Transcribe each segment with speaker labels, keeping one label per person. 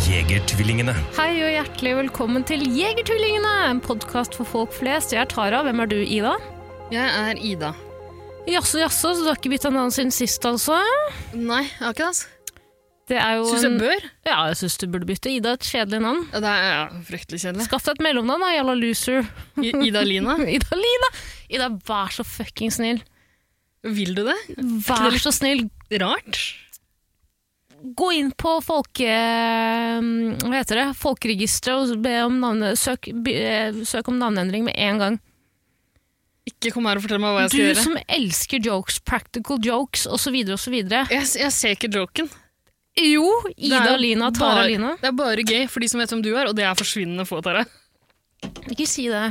Speaker 1: Jegertvillingene.
Speaker 2: Hei og hjertelig velkommen til Jegertvillingene, en podkast for folk flest. Jeg er Tara, hvem er du, Ida?
Speaker 3: Jeg er Ida.
Speaker 2: Jaså, jaså, så du har ikke bytta navn siden sist, altså?
Speaker 3: Nei, jeg har ikke det. altså.
Speaker 2: Det er jo
Speaker 3: Syns jeg
Speaker 2: en...
Speaker 3: bør?
Speaker 2: Ja, jeg syns du burde bytte. Ida, et kjedelig navn.
Speaker 3: Ja, det er ja, fryktelig kjedelig.
Speaker 2: Skaff deg et mellomnavn, da, jalla loser.
Speaker 3: I- Ida Lina,
Speaker 2: Ida Lina! Ida, vær så fucking snill.
Speaker 3: vil du det?
Speaker 2: Vær så snill,
Speaker 3: Rart.
Speaker 2: gå inn på folke... mm, Hva heter det? Folkeregisteret og be om navne... søk... by- eh, søk om navneendring med en gang.
Speaker 3: Ikke kom her og fortell meg hva jeg skal
Speaker 2: Du
Speaker 3: gjøre.
Speaker 2: som elsker jokes, practical jokes osv. osv.
Speaker 3: Jeg, s- jeg ser ikke joken.
Speaker 2: Jo,
Speaker 3: Det er
Speaker 2: Ida
Speaker 3: jo
Speaker 2: Lina, Tara
Speaker 3: bare,
Speaker 2: Lina.
Speaker 3: Det er bare gøy for de som vet hvem du er, og det er forsvinnende få, Tara.
Speaker 2: Ikke si det.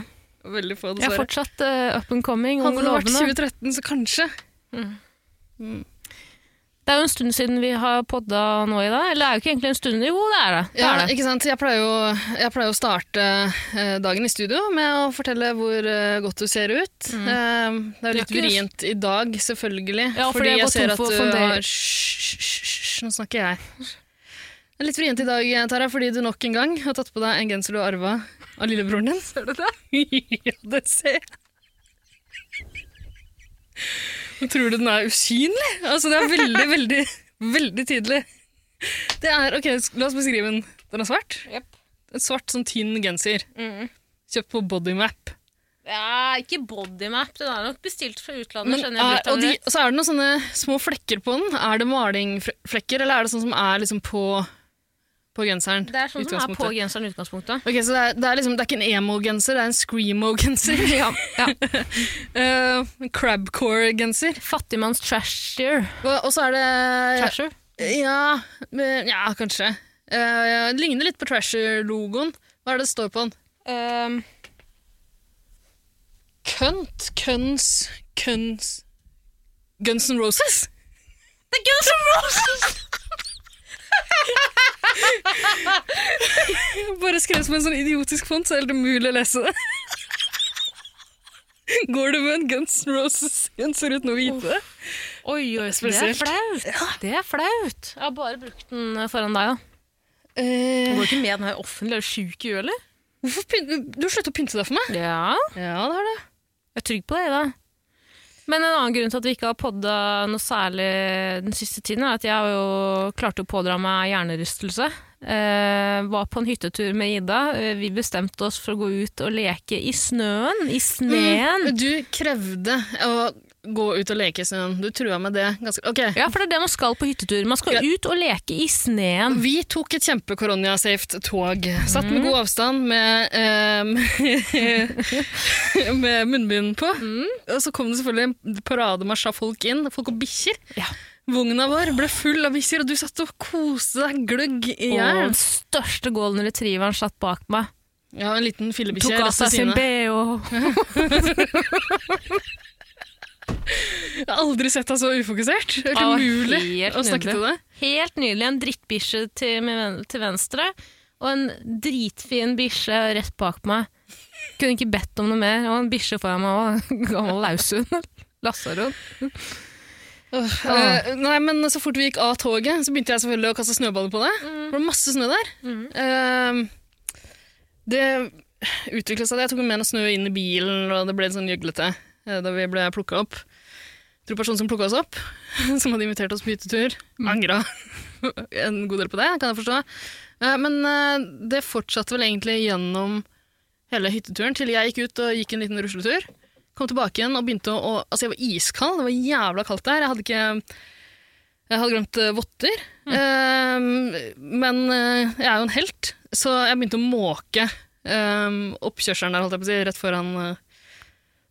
Speaker 3: Veldig få,
Speaker 2: Jeg er
Speaker 3: dessverre.
Speaker 2: fortsatt eh, up and coming. ung og
Speaker 3: Hadde det vært
Speaker 2: lovende.
Speaker 3: 2013, så kanskje.
Speaker 2: Det er jo en stund siden vi har podda nå, Ida. Eller det er jo ikke egentlig en stund. Jo, det er det. det,
Speaker 3: Ja,
Speaker 2: er det.
Speaker 3: ikke sant? Jeg pleier, jo, jeg pleier å starte eh, dagen i studio med å fortelle hvor eh, godt du ser ut. Eh, det er
Speaker 2: Du er
Speaker 3: litt
Speaker 2: ikke-
Speaker 3: vrient i dag, selvfølgelig.
Speaker 2: Ja, fordi
Speaker 3: fordi
Speaker 2: jeg
Speaker 3: jeg
Speaker 2: går tom
Speaker 3: ser at
Speaker 2: for
Speaker 3: du
Speaker 2: fonder.
Speaker 3: har Hysj, hysj, hysj, nå snakker jeg. Det er litt vrient i dag, Tara, fordi du nok en gang har tatt på deg en genser du har arva av lillebroren din. Ser du det? ja, det ser jeg. Men Tror du den er usynlig? Altså, det er veldig, veldig, veldig tydelig. Det er, ok, sk- La oss beskrive den. Den er svart?
Speaker 2: Jep.
Speaker 3: En svart, sånn tynn genser.
Speaker 2: Mm.
Speaker 3: Kjøpt på Bodymap.
Speaker 2: Ja, ikke bodymap. Den er nok bestilt fra utlandet.
Speaker 3: Men,
Speaker 2: skjønner
Speaker 3: er,
Speaker 2: jeg
Speaker 3: og de, og så er det noen sånne små flekker på den. Er det malingflekker, eller er det sånn som er liksom på, på genseren?
Speaker 2: Det er sånn som er
Speaker 3: Utgangspunktet.
Speaker 2: på genseren i utgangspunktet.
Speaker 3: Ok, Så det er, det er liksom, det er ikke en emo-genser, det er en screamo-genser.
Speaker 2: ja,
Speaker 3: Eh, en Crabcore-genser.
Speaker 2: Fattigmanns trasher.
Speaker 3: Og, og så er det
Speaker 2: Trasher?
Speaker 3: Ja, men- ja kanskje. Eh, det ligner litt på Trasher-logoen. Hva er det det står på den?
Speaker 2: Um,
Speaker 3: Kønt, køns, køns Guns N' Roses?
Speaker 2: The Guns N' Roses!
Speaker 3: Bare skrevet som en sånn idiotisk font, så er det helt umulig å lese det. Går du med en Guns N' Roses-genser uten å vite det?
Speaker 2: Oi, oi, det er
Speaker 3: Spesielt.
Speaker 2: flaut. Det er flaut. Jeg har bare brukt den foran deg, da.
Speaker 3: Eh,
Speaker 2: går ikke med den her offentlig, er du sjuk i huet, eller?
Speaker 3: hvorfor pyn- du har sluttet å pynte deg for meg?
Speaker 2: Ja,
Speaker 3: Ja, det har du.
Speaker 2: jeg er trygg på deg, da. Men en annen grunn til at vi ikke har podda noe særlig den siste tiden, er at jeg har jo klart å pådra meg hjernerystelse. Eh, var på en hyttetur med Ida. Eh, Vi bestemte oss for å gå ut og leke i snøen. I sneen.
Speaker 3: Mm. Du krevde å gå ut og leke i snøen. Du trua med det. Ganske, ok.
Speaker 2: Ja, for det er det man skal på hyttetur. Man skal
Speaker 3: Ja.
Speaker 2: ut og leke i sneen.
Speaker 3: Vi tok et kjempe-koronia-safe tog. Satt
Speaker 2: Mhm.
Speaker 3: med god avstand med, eh, med munnbind på.
Speaker 2: Mhm.
Speaker 3: Og så kom det selvfølgelig en parademarsj av folk inn. Folk og bikkjer.
Speaker 2: Ja.
Speaker 3: Vogna vår ble full av bikkjer, og du satt og koste deg gløgg i
Speaker 2: Og
Speaker 3: hjel.
Speaker 2: den største golden retrieveren satt bak meg.
Speaker 3: Ja, en liten fillebikkje.
Speaker 2: Tok av
Speaker 3: rett ved
Speaker 2: seg sin
Speaker 3: siden av.
Speaker 2: bh.
Speaker 3: Jeg har aldri sett deg så ufokusert. Det er
Speaker 2: Ah,
Speaker 3: helt umulig
Speaker 2: helt
Speaker 3: å snakke til deg.
Speaker 2: Helt nydelig. En drittbikkje til, med ven- til venstre, og en dritfin bikkje rett bak meg. Kunne ikke bedt om noe mer. Og en bikkje foran meg òg. Gammel laushund. Lassarund.
Speaker 3: Åh, eh, nei, men så fort vi gikk av toget, så begynte jeg selvfølgelig å kaste snøballer på deg. Det var masse snø der. Eh, det utviklet seg. Jeg tok med noe snø inn i bilen, og det ble litt sånn gjøglete eh, da vi ble plukka opp. Jeg tror personen som plukka oss opp, som hadde invitert oss på hyttetur, angra en god del på det, kan jeg forstå. Eh, Men eh, det fortsatte vel egentlig gjennom hele hytteturen, til jeg gikk ut og gikk en liten rusletur. Kom tilbake igjen og begynte å... å- Altså, jeg var iskald, det var jævla kaldt der. Jeg hadde ikke... Jeg hadde glemt eh, votter. Eh, men eh, jeg er jo en helt, så jeg begynte å måke eh, oppkjørselen der, holdt jeg på å si, rett foran... eh,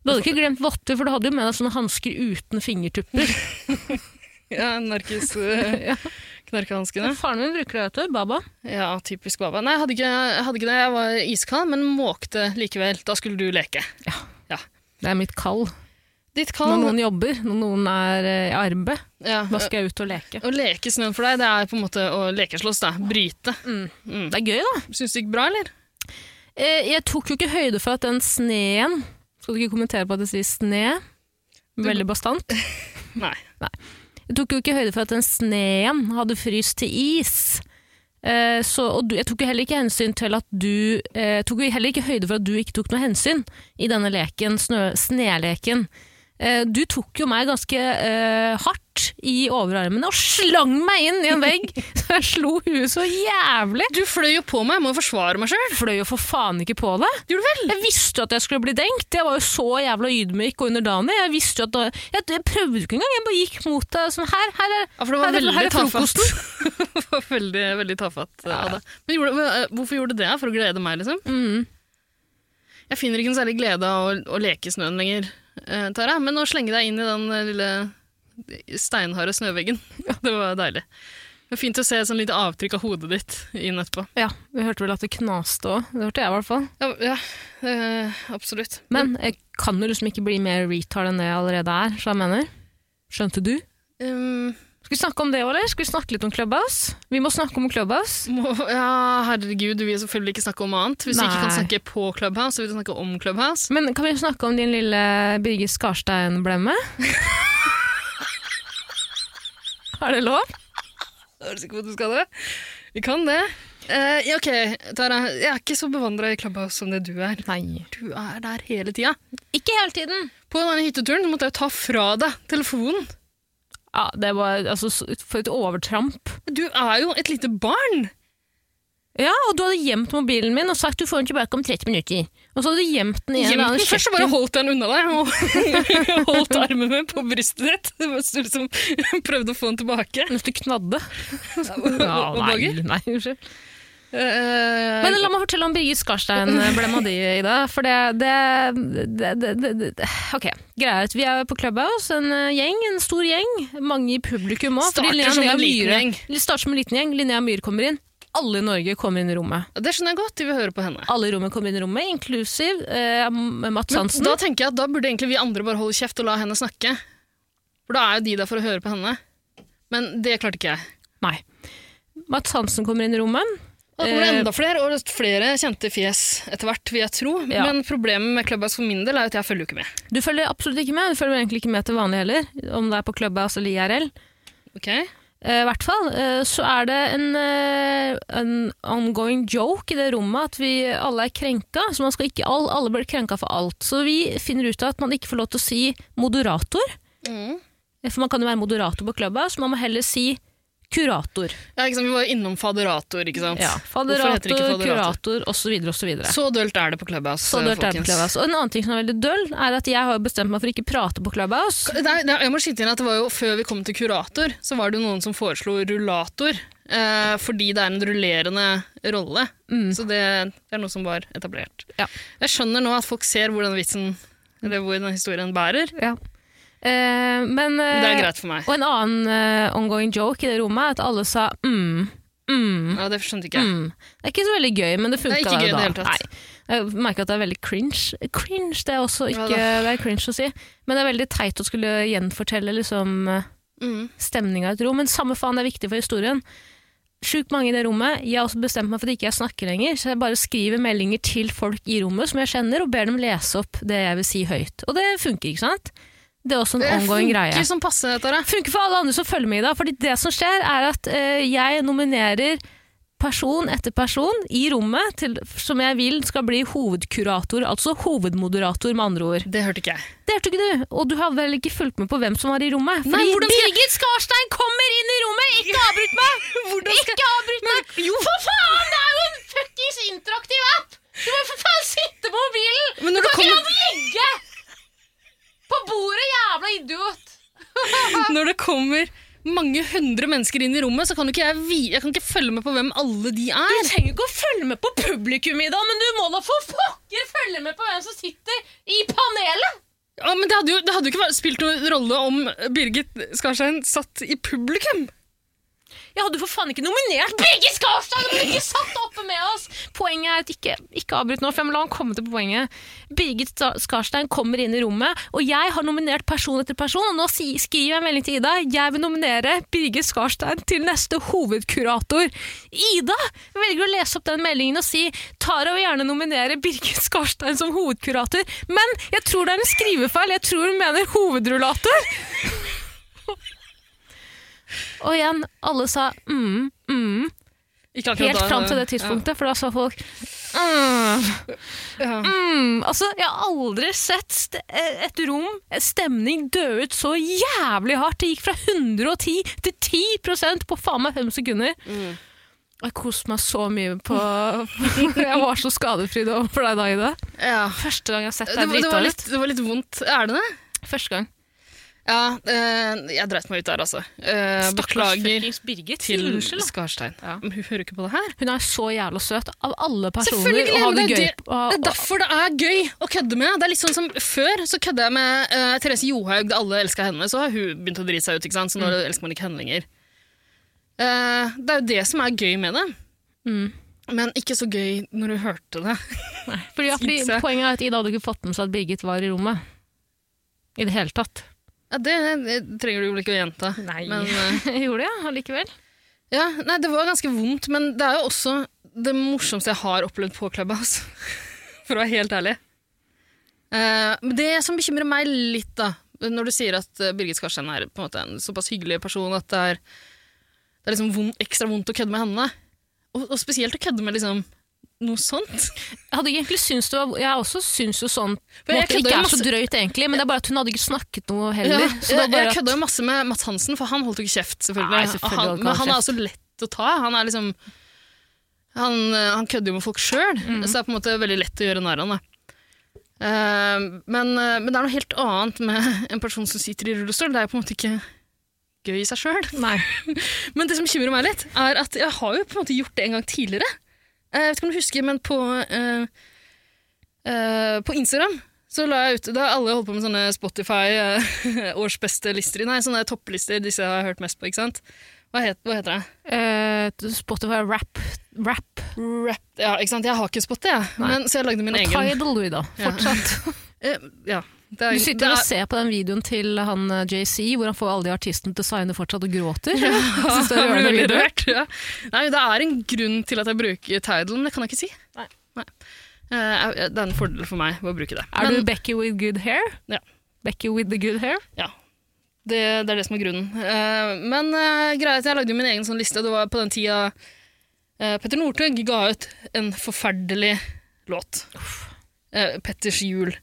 Speaker 2: Du hadde ikke glemt votter, for du hadde jo med deg sånne hansker uten fingertupper.
Speaker 3: ja, narkis... eh,
Speaker 2: Ja.
Speaker 3: Knarkehanskene.
Speaker 2: Faren min bruker det, vet du. Baba.
Speaker 3: Ja, typisk baba. Nei, jeg hadde ikke, jeg hadde ikke det. Jeg var iskald, men måkte likevel. Da skulle du leke.
Speaker 2: Ja.
Speaker 3: Ja.
Speaker 2: Det er mitt kall.
Speaker 3: Ditt
Speaker 2: Når
Speaker 3: kall
Speaker 2: noen jobber, når noen er eh, i arbeid,
Speaker 3: ja.
Speaker 2: da skal jeg ut og leke.
Speaker 3: Å leke i snøen for deg, det er på en måte å lekeslåss, da. Bryte. Mm.
Speaker 2: Det er gøy, da.
Speaker 3: Syns det gikk bra, eller?
Speaker 2: Eh, Jeg tok jo ikke høyde for at den sneen Skal du ikke kommentere på at det sier sne? Veldig bastant.
Speaker 3: Nei.
Speaker 2: Jeg tok jo ikke høyde for at den sneen hadde fryst til is. Eh, så, og du, jeg tok jo heller ikke hensyn til at du eh, tok jo heller ikke høyde for at du ikke tok noe hensyn i denne leken, snø, sneleken. Eh, du tok jo meg ganske eh, hardt i overarmene og slang meg inn i en vegg, så jeg slo huet så jævlig.
Speaker 3: Du fløy jo på meg, jeg må jo forsvare meg sjøl.
Speaker 2: Jeg fløy jo for faen ikke på det.
Speaker 3: Gjorde du vel?
Speaker 2: Jeg visste jo at jeg skulle bli denkt. Jeg var jo så jævla ydmyk og underdanig. Jeg visste jo at da, jeg, jeg prøvde jo ikke engang. Jeg bare gikk mot deg sånn her. Her er,
Speaker 3: Ja, for det
Speaker 2: her
Speaker 3: var
Speaker 2: er, her
Speaker 3: veldig
Speaker 2: er
Speaker 3: tafatt.
Speaker 2: frokosten.
Speaker 3: det var veldig, veldig tafatt eh, av deg. Men gjorde, eh, hvorfor gjorde du det? For å glede meg, liksom?
Speaker 2: Mm.
Speaker 3: Jeg finner ikke noe særlig glede av å, å leke i snøen lenger, eh, Tara. Men å slenge deg inn i den eh, lille eh, steinharde snøveggen, det var deilig. Det var Fint å se et sånn lite avtrykk av hodet ditt inn etterpå.
Speaker 2: Ja, vi hørte vel at det knaste òg. Det hørte jeg i hvert fall.
Speaker 3: Ja, ja eh, absolutt.
Speaker 2: Men jeg kan jo liksom ikke bli mer retard enn det jeg allerede er, så jeg mener. Skjønte du?
Speaker 3: Um,
Speaker 2: Skal vi snakke om det òg, eller? Skal vi snakke litt om Clubhouse? Vi må snakke om Clubhouse.
Speaker 3: må, ja, herregud, du vil selvfølgelig ikke snakke om annet. Hvis du ikke kan
Speaker 2: Nei.
Speaker 3: snakke på Clubhouse, så vil du snakke om Clubhouse.
Speaker 2: Men kan vi snakke om din lille Birgit Skarstein-blemme? er det lov?
Speaker 3: Er du sikker på at du skal det? Vi kan det. Eh, ja, ok, Tara, jeg er ikke så bevandra i Clubhouse som det du er.
Speaker 2: Nei.
Speaker 3: Du er der hele tida.
Speaker 2: Ikke hele tiden.
Speaker 3: På denne hytteturen så måtte jeg jo ta fra deg telefonen.
Speaker 2: Ja, det var altså så- For et overtramp.
Speaker 3: Du er jo et lite barn!
Speaker 2: Ja, og du hadde gjemt mobilen min og sagt du får den tilbake om 30 minutter. Og så hadde du gjemt den i en eller
Speaker 3: Gjemt
Speaker 2: annen
Speaker 3: den først så
Speaker 2: kjøkken-
Speaker 3: bare holdt jeg den unna deg og holdt armen min på brystet ditt. Det var du som prøvde å få den tilbake.
Speaker 2: mens du knadde.
Speaker 3: og- og bager.
Speaker 2: nei, unnskyld.
Speaker 3: Eh,
Speaker 2: Men la meg fortelle om Birgit Skarstein-blemma di, Ida. For det, det, det, det, det, det Ok, greia er at vi er på Clubhouse, en eh, gjeng, en stor gjeng. Mange i publikum òg.
Speaker 3: Starter som en liten gjeng.
Speaker 2: Det starter som en liten gjeng. Linnea Myhre kommer inn. Alle i Norge kommer inn i rommet.
Speaker 3: det skjønner jeg godt, de vil høre på henne.
Speaker 2: Alle i rommet kommer inn i rommet, inklusiv eh, Mats Hansen.
Speaker 3: Da tenker jeg at da burde egentlig vi andre bare holde kjeft og la henne snakke. For da er jo de der for å høre på henne. Men det klarte ikke jeg.
Speaker 2: Nei. Mats Hansen kommer inn i rommet.
Speaker 3: Og det kommer
Speaker 2: Eh,
Speaker 3: enda flere, og flere kjente fjes etter hvert, vil jeg tro.
Speaker 2: Ja.
Speaker 3: Men problemet med Clubhouse for min del er jo at jeg følger jo ikke med.
Speaker 2: Du følger absolutt ikke med. Du følger egentlig ikke med til vanlig heller, om det er på Clubhouse eller IRL.
Speaker 3: Ok?
Speaker 2: Eh, I hvert fall eh, så er det en, eh, en ongoing joke i det rommet at vi alle er krenka. Så man skal ikke, all, alle blir krenka for alt. Så vi finner ut av at man ikke får lov til å si moderator. Eh, For man kan jo være moderator på Clubhouse, man må heller si kurator.
Speaker 3: Ja, ikke sant? Vi var jo innom faderator, ikke sant?
Speaker 2: Ja,
Speaker 3: Hvorfor heter det ikke
Speaker 2: Faderator, kurator osv. osv.
Speaker 3: Så dølt er det på Clubhouse,
Speaker 2: Så dølt er det på
Speaker 3: folkens.
Speaker 2: Clubhouse. Og en annen ting som er veldig døll, er at jeg har jo bestemt meg for ikke prate på Clubhouse.
Speaker 3: Det er, det er, jeg må skyte inn at det var jo Før vi kom til kurator, så var det jo noen som foreslo rullator. Eh, fordi det er en rullerende rolle. Så det, det er noe som var etablert.
Speaker 2: Mm. Ja.
Speaker 3: Jeg skjønner nå at folk ser hvor den vitsen eller hvor den historien bærer.
Speaker 2: Eh, men, eh,
Speaker 3: Det er greit for meg.
Speaker 2: Og en annen eh, ongoing joke i det rommet er at alle sa mm, mm,
Speaker 3: Ja, det skjønte ikke jeg.
Speaker 2: mm. Det er ikke så veldig gøy, men det funka
Speaker 3: Det er ikke gøy i
Speaker 2: jo da.
Speaker 3: det hele tatt.
Speaker 2: Nei. Jeg merker at det er veldig cringe. Cringe, det er også
Speaker 3: Ja
Speaker 2: ikke det er cringe å si. Men det er veldig teit å skulle gjenfortelle liksom, eh,
Speaker 3: Mm.
Speaker 2: stemninga i et rom. Men samme faen, det er viktig for historien. Sjukt mange i det rommet. Jeg har også bestemt meg for at ikke jeg snakker lenger, så jeg bare skriver meldinger til folk i rommet som jeg kjenner, og ber dem lese opp det jeg vil si høyt. Og det funker, ikke sant? Det er også en
Speaker 3: Det
Speaker 2: omgående greie.
Speaker 3: funker som passe, Tara.
Speaker 2: Funker for alle andre som følger med i dag, fordi det som skjer er at eh, jeg nominerer person etter person i rommet til, som jeg vil skal bli hovedkurator, altså hovedmoderator med andre ord.
Speaker 3: Det hørte ikke jeg.
Speaker 2: Det hørte ikke du, og du har vel ikke fulgt med på hvem som var i rommet?
Speaker 3: Nei,
Speaker 2: Fordi
Speaker 3: hvordan skal jeg-
Speaker 2: Birgit Skarstein kommer inn i rommet! Ikke avbryt meg! Ikke avbryt meg! For faen, det er jo en fuckings interaktiv app! Du må for faen sitte på mobilen!
Speaker 3: Men når du, kommer,
Speaker 2: Ligge! På bordet, jævla idiot! Ah!
Speaker 3: når det kommer mange hundre mennesker inn i rommet, så kan jo ikke jeg, vi- jeg kan ikke følge med på hvem alle de
Speaker 2: Du
Speaker 3: er.
Speaker 2: trenger ikke å følge med på publikum, Ida, men du må da for pokker følge med på hvem som sitter i panelet!
Speaker 3: Ja, men det hadde, jo, det hadde jo ikke vært- spilt noen rolle om Birgit Skarstein satt i publikum.
Speaker 2: Ja, Jeg hadde for faen ikke nominert Birgit Skarstad! Hun ikke satt oppe med oss! Poenget er at ikke, ikke avbryt nå, for jeg må la han komme til poenget. Birgit Sta- Skarstein kommer inn i rommet, og jeg har nominert person etter person, og nå si, skriver jeg en melding til Ida. Jeg vil nominere Birgit Skarstein til neste hovedkurator. Ida velger å lese opp den meldingen og si Tara vil gjerne nominere Birgit Skarstein som hovedkurator, men jeg tror det er en skrivefeil, jeg tror hun mener hovedrullator. Og igjen, alle sa mm, mm,
Speaker 3: Ikke akkurat
Speaker 2: helt
Speaker 3: da,
Speaker 2: fram til det
Speaker 3: ja.
Speaker 2: tidspunktet, for da sa folk mm,
Speaker 3: Ja.
Speaker 2: mm. Altså, jeg har aldri sett st- eh, et rom, en stemning, dø ut så jævlig hardt. Det gikk fra 110 til 10 på faen meg fem sekunder.
Speaker 3: Mm.
Speaker 2: Jeg koste meg så mye på Jeg var så skadefri da for deg da, Ida.
Speaker 3: Ja.
Speaker 2: Første gang jeg har sett
Speaker 3: Det,
Speaker 2: deg
Speaker 3: var- det, var
Speaker 2: drita
Speaker 3: litt,
Speaker 2: litt.
Speaker 3: det var litt vondt. Er det det?
Speaker 2: Første gang.
Speaker 3: Ja, eh, jeg dreit meg ut der, altså. Eh,
Speaker 2: Stakkars
Speaker 3: beklager
Speaker 2: fuckings Birgit.
Speaker 3: til
Speaker 2: Unnskyld, da.
Speaker 3: Skarstein.
Speaker 2: Ja.
Speaker 3: Men hun hører ikke på det her.
Speaker 2: Hun er så jævla søt. Av alle personer
Speaker 3: Selvfølgelig,
Speaker 2: å ha det
Speaker 3: men det
Speaker 2: gøy
Speaker 3: er
Speaker 2: å-
Speaker 3: Det er derfor det er gøy å kødde med. Det er litt sånn som Før så kødda jeg med eh, Therese Johaug da alle elska henne. Så har hun begynt å drite seg ut, ikke sant? så nå
Speaker 2: Mm.
Speaker 3: elsker man ikke henne lenger. Eh, det er jo det som er gøy med det.
Speaker 2: Mm.
Speaker 3: Men ikke så gøy når du hørte det.
Speaker 2: Fordi, fordi
Speaker 3: Skisse.
Speaker 2: Poenget er at Ida hadde ikke fått med seg at Birgit var i rommet. I det hele tatt.
Speaker 3: Ja, det, det trenger du vel ikke å gjenta.
Speaker 2: Nei.
Speaker 3: Men, eh,
Speaker 2: Gjorde det, ja, allikevel.
Speaker 3: ja, nei, det var ganske vondt, men det er jo også det morsomste jeg har opplevd på Clubhouse. For å være helt ærlig. Eh, men det som bekymrer meg litt, da, når du sier at eh, Birgit Skarstein er på en, måte en såpass hyggelig person at det er, det er liksom vond, ekstra vondt å kødde med henne, og, og spesielt å kødde med liksom noe sånt
Speaker 2: Jeg hadde egentlig syntes det var, jeg også syns jo sånn på en
Speaker 3: Men jeg
Speaker 2: måte,
Speaker 3: kødder
Speaker 2: ikke er
Speaker 3: masse-
Speaker 2: så drøyt, egentlig, men det er bare at hun hadde ikke snakket noe heller.
Speaker 3: Ja,
Speaker 2: så det var
Speaker 3: jeg
Speaker 2: bare
Speaker 3: jeg
Speaker 2: at,
Speaker 3: kødda jo masse med Matt Hansen, for han holdt jo ikke kjeft, selvfølgelig.
Speaker 2: Nei, selvfølgelig
Speaker 3: Og
Speaker 2: holdt
Speaker 3: han,
Speaker 2: ikke
Speaker 3: men
Speaker 2: han
Speaker 3: han er også lett å ta. Han er liksom Han, eh, han kødder jo med folk sjøl,
Speaker 2: Mm.
Speaker 3: så det er på en måte veldig lett å gjøre narr av han. da. Eh, men, eh, men det er noe helt annet med en person som sitter i rullestol. Det er jo på en måte ikke gøy i seg sjøl.
Speaker 2: Nei.
Speaker 3: Men det som bekymrer meg litt, er at jeg har jo på en måte gjort det en gang tidligere. Eh, Jeg vet ikke om du husker, men på, eh, eh, på Instagram så la jeg ut Da alle holdt på med sånne Spotify-årsbeste-lister Nei, sånne topplister. Disse har jeg hørt mest på, ikke sant? Hva, het, hva heter det?
Speaker 2: Eh, Spotify rap. rap.
Speaker 3: Rap. Ja, ikke sant? Jeg har ikke Spotify, jeg.
Speaker 2: Nei.
Speaker 3: Men, så jeg lagde min
Speaker 2: Og
Speaker 3: egen.
Speaker 2: Tidal, du, da.
Speaker 3: Ja.
Speaker 2: Fortsatt.
Speaker 3: Eh, ja. Det er-
Speaker 2: Du
Speaker 3: det
Speaker 2: sitter
Speaker 3: er-
Speaker 2: og ser på den videoen til han eh, JC, hvor han får alle de artistene til å signe fortsatt og gråter. Jeg synes det er
Speaker 3: Jeg blir
Speaker 2: rørende
Speaker 3: veldig
Speaker 2: video.
Speaker 3: rørt. Ja. Nei, det er en grunn til at jeg bruker Tidal, men det kan jeg ikke si.
Speaker 2: Nei.
Speaker 3: Eh, jeg- Det er en fordel for meg å bruke det.
Speaker 2: Er
Speaker 3: Men-
Speaker 2: du Becky with good hair?
Speaker 3: Ja.
Speaker 2: Becky with the good hair?
Speaker 3: Ja. Det, det er det som er grunnen. Eh, men eh, greia er at jeg lagde jo min egen sånn liste. og Det var på den tida eh, Petter Northug ga ut en forferdelig låt. Eh, Petters jul.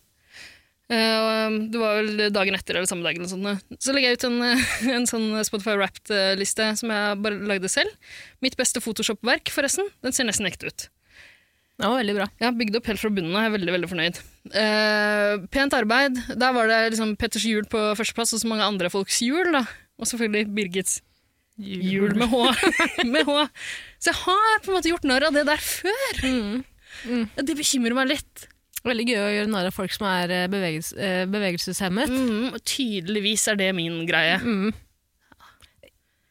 Speaker 3: Eh, og, det var vel dagen etter eller samme dag. Eller noe sånt. Så legger jeg ut en, eh, en sånn Spotify Wrapped-liste som jeg bare lagde selv. Mitt beste Photoshop-verk, forresten. Den ser nesten ekte ut.
Speaker 2: Det var veldig bra.
Speaker 3: Jeg har bygd opp helt fra bunnen av. Jeg er veldig veldig fornøyd. Eh, pent arbeid. Der var det liksom Petters jul på førsteplass, og så mange andre folks jul. da. Og selvfølgelig Birgits jul med H. med H. Så jeg har på en måte gjort narr av det der før.
Speaker 2: Mm.
Speaker 3: Det bekymrer meg litt.
Speaker 2: Veldig gøy å gjøre narr av folk som er eh, bevegelses, eh, bevegelseshemmet.
Speaker 3: Mm, og tydeligvis er det min greie.
Speaker 2: Mm.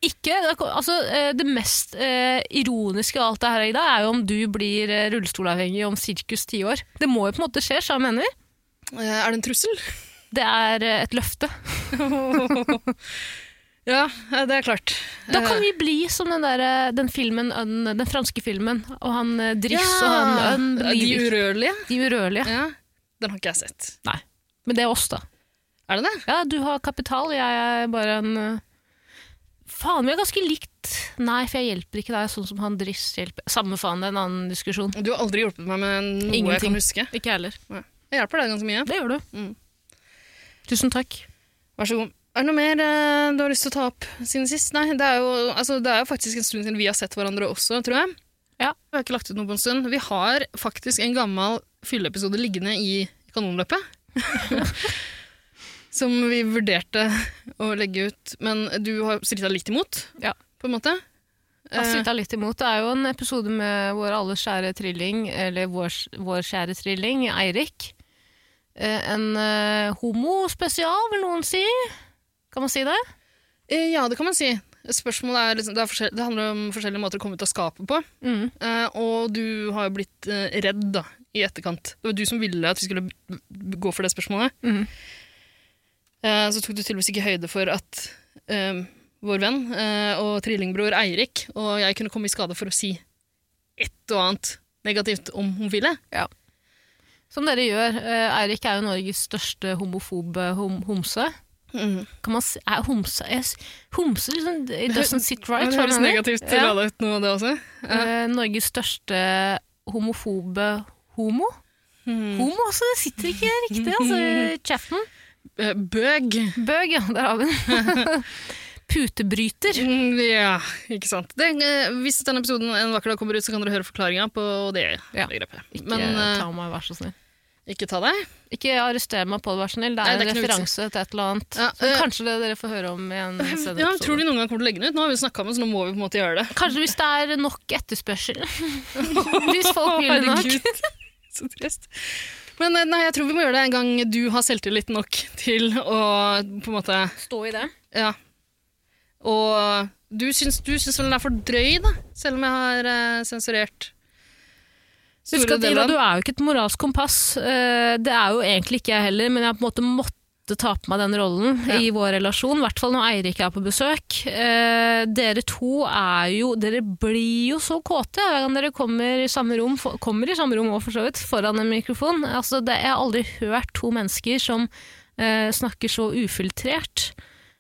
Speaker 2: Ikke, det er ko- altså eh, Det mest eh, ironiske av alt det her, Ida, er jo om du blir eh, rullestolavhengig om sirkus ti år. Det må jo på en måte skje, sa mener.
Speaker 3: Eh, er det en trussel?
Speaker 2: Det er eh, et løfte.
Speaker 3: ja, eh, det er klart.
Speaker 2: Da kan
Speaker 3: Eh,
Speaker 2: vi bli som den, der, eh, den filmen, Unn- den franske filmen, og han eh, Driss og
Speaker 3: ja, eh,
Speaker 2: han Unn
Speaker 3: De
Speaker 2: blir
Speaker 3: urørlige?
Speaker 2: de urørlige.
Speaker 3: Ja. Den har ikke jeg sett.
Speaker 2: Men det er oss, da.
Speaker 3: Er det det?
Speaker 2: Ja, du har kapital, jeg er bare en eh, Faen, vi er ganske likt. Nei, for jeg hjelper ikke deg sånn som han Driss hjelper. Samme faen, det er en annen diskusjon.
Speaker 3: Du har aldri hjulpet meg med noe jeg
Speaker 2: Ingenting.
Speaker 3: kan huske.
Speaker 2: Ikke jeg heller.
Speaker 3: Jeg hjelper deg ganske mye.
Speaker 2: Det gjør du.
Speaker 3: Mm.
Speaker 2: Tusen takk.
Speaker 3: Vær så god. Er det noe mer eh, du har lyst til å ta opp siden sist? Nei, det er, jo, altså, det er jo faktisk en stund siden vi har sett hverandre også, tror jeg.
Speaker 2: Ja.
Speaker 3: Vi har ikke lagt ut noe på en stund. Vi har faktisk en gammel fylleepisode liggende i kanonløpet. som vi vurderte å legge ut, men du har stritta litt imot,
Speaker 2: Ja.
Speaker 3: på en måte.
Speaker 2: Jeg har strittet litt imot. Det er jo en episode med vår alles kjære trilling, eller vår, vår kjære trilling, Eirik. Eh, En eh, homospesial, vil noen si. Kan man si det?
Speaker 3: Eh, eh, ja, det kan man si. Spørsmålet er, liksom, det, er forskjell- det handler om forskjellige måter å komme ut av skapet på.
Speaker 2: Mm.
Speaker 3: Eh, og du har jo blitt eh, redd da, i etterkant. Det var du som ville at vi skulle b- b- gå for det spørsmålet.
Speaker 2: Mhm.
Speaker 3: Eh, så tok du tydeligvis ikke høyde for at eh, vår venn eh, og trillingbror Eirik og jeg kunne komme i skade for å si et og annet negativt om homofile.
Speaker 2: Som dere gjør. eh, Eirik er jo Norges største homofobe hom homse.
Speaker 3: Mm.
Speaker 2: Kan man si, er homse jeg s- Homse liksom, it doesn't sit right.
Speaker 3: Men det
Speaker 2: hva
Speaker 3: høres
Speaker 2: mener jeg?
Speaker 3: negativt til
Speaker 2: Ja.
Speaker 3: alle ut nå, det også.
Speaker 2: Eh, Norges største homofobe homo.
Speaker 3: Hmm.
Speaker 2: Homo, altså. Det sitter ikke riktig, altså. Chapman.
Speaker 3: Eh, Bøg.
Speaker 2: Bøg, ja. Der har vi den. Putebryter.
Speaker 3: Mm, Ja, ikke sant. Det, eh, hvis denne episoden en vakker dag kommer ut, så kan dere høre forklaringa på det
Speaker 2: Ja.
Speaker 3: begrepet.
Speaker 2: Ikke
Speaker 3: Men eh,
Speaker 2: ta meg, vær så snill.
Speaker 3: ikke ta deg.
Speaker 2: Ikke arrester meg på det, vær så snill. Det
Speaker 3: Nei,
Speaker 2: er
Speaker 3: det er
Speaker 2: en
Speaker 3: ikke noe
Speaker 2: referanse til et eller annet.
Speaker 3: Ja,
Speaker 2: Så
Speaker 3: eh,
Speaker 2: kanskje det dere får høre om i en senere
Speaker 3: Ja, men
Speaker 2: episode.
Speaker 3: tror du noen gang kommer til å legge den ut? Nå har vi snakka om det, så nå må vi på en måte gjøre det.
Speaker 2: Kanskje hvis det er nok etterspørsel. hvis folk vil det nok.
Speaker 3: Herregud. så trist. Men eh, nei, jeg tror vi må gjøre det en gang du har selvtillit nok til å på en måte
Speaker 2: Stå i det.
Speaker 3: Ja. Og du syns, du syns vel den er for drøy, da? Selv om jeg har eh, sensurert
Speaker 2: Husk
Speaker 3: store
Speaker 2: at
Speaker 3: deler
Speaker 2: Ida,
Speaker 3: av
Speaker 2: du
Speaker 3: den.
Speaker 2: er jo ikke et moralsk kompass. Eh, Det er jo egentlig ikke jeg heller, men jeg har på en måte måtte ta på meg den rollen
Speaker 3: Ja.
Speaker 2: i vår relasjon. I hvert fall når Eirik er på besøk. Eh, Dere to er jo Dere blir jo så kåte hver gang dere kommer i samme rom, for, kommer i samme rom også, for så vidt, foran en mikrofon. Altså, det, jeg har aldri hørt to mennesker som eh, snakker så ufiltrert.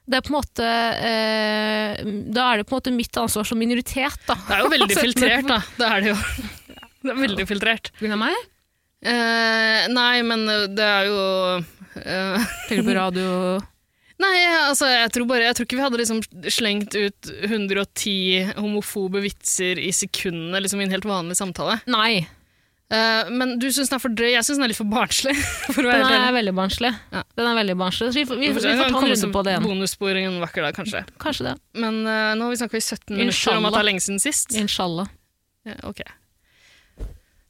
Speaker 2: Det er på en måte eh, Da er det på en måte mitt ansvar som minoritet, da.
Speaker 3: Det er jo veldig filtrert, da. Det er det jo. Det er veldig filtrert.
Speaker 2: Grunn av meg?
Speaker 3: Eh, nei, men eh, det er jo eh,
Speaker 2: Tenker du på radio...
Speaker 3: Nei, altså, jeg tror bare Jeg tror ikke vi hadde liksom slengt ut 110 homofobe vitser i sekundene liksom i en helt vanlig samtale.
Speaker 2: Nei.
Speaker 3: Eh, men du syns den er for drøy. Jeg syns den er litt for barnslig. For å være
Speaker 2: Den
Speaker 3: helt
Speaker 2: er
Speaker 3: ærlig.
Speaker 2: veldig barnslig.
Speaker 3: Ja.
Speaker 2: Den er veldig barnslig. Så vi, får- vi, vi får
Speaker 3: Den
Speaker 2: ta en
Speaker 3: kommer
Speaker 2: runde
Speaker 3: som
Speaker 2: på det igjen.
Speaker 3: Bonusspor en vakker dag, kanskje.
Speaker 2: Kanskje det.
Speaker 3: Men eh, nå har vi snakka i 17 minutter om
Speaker 2: Inshallah.
Speaker 3: at det er lenge siden sist.
Speaker 2: Inshallah.
Speaker 3: Ja, ok.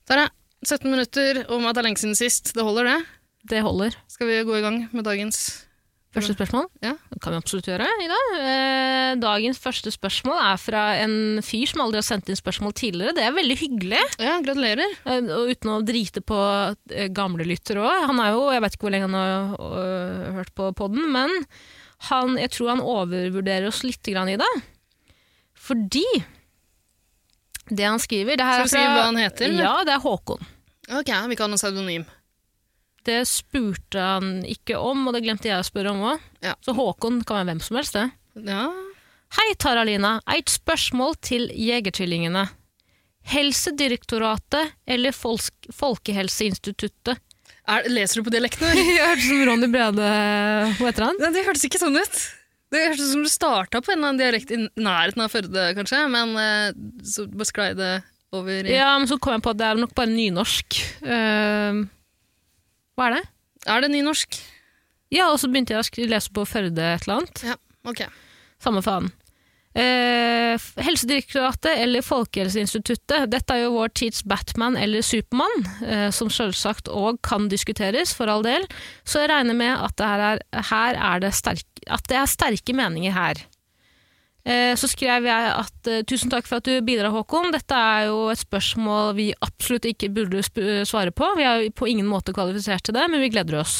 Speaker 3: Der, ja. 17 minutter om at det er lenge siden sist. Det holder, det.
Speaker 2: Det holder.
Speaker 3: Skal vi gå i gang med dagens
Speaker 2: Første spørsmål
Speaker 3: Ja.
Speaker 2: Det kan vi absolutt gjøre i dag. Eh, dagens første spørsmål er fra en fyr som aldri har sendt inn spørsmål tidligere. Det er veldig hyggelig,
Speaker 3: Ja, gratulerer.
Speaker 2: eh, og uten å drite på eh, gamle lyttere òg. Han er jo, jeg vet ikke hvor lenge han har øh, hørt på podden, men han, jeg tror han overvurderer oss litt grann i det. Fordi det han skriver det her er
Speaker 3: Skal vi skrive
Speaker 2: fra-
Speaker 3: hva han heter, eller?
Speaker 2: Ja, det er Håkon.
Speaker 3: Ok, vi kan ha en pseudonym.
Speaker 2: Det spurte han ikke om, og det glemte jeg å spørre om òg.
Speaker 3: Ja.
Speaker 2: Så Håkon kan være hvem som helst, det.
Speaker 3: Ja.
Speaker 2: Hei, Tara-Lina. Eit spørsmål til Jegertvillingene. Helsedirektoratet eller Folks- Folkehelseinstituttet?
Speaker 3: Er, leser du på dialekten? eller?
Speaker 2: Jeg hørte som Ronny Brede Hva heter han?
Speaker 3: Nei, det hørtes ikke sånn ut. Det hørtes ut som du starta på en eller annen dialekt i nærheten av Førde, kanskje, men eh, så bare sklei det over i
Speaker 2: Ja, men så kom jeg på at det er nok bare nynorsk. Eh, hva er det?
Speaker 3: Er det nynorsk?
Speaker 2: Ja, og så begynte jeg å sk- lese på Førde et eller annet.
Speaker 3: Ja, ok.
Speaker 2: Samme faen. Eh, Helsedirektoratet eller Folkehelseinstituttet, dette er jo vår tids Batman eller Supermann, eh, som selvsagt òg kan diskuteres, for all del, så jeg regner med at det her er, her er, det, sterk, at det er sterke meninger her. Eh, så skrev jeg at eh, tusen takk for at du bidrar, Håkon, dette er jo et spørsmål vi absolutt ikke burde sp eh, svare på, vi er jo på ingen måte kvalifisert til det, men vi gleder oss.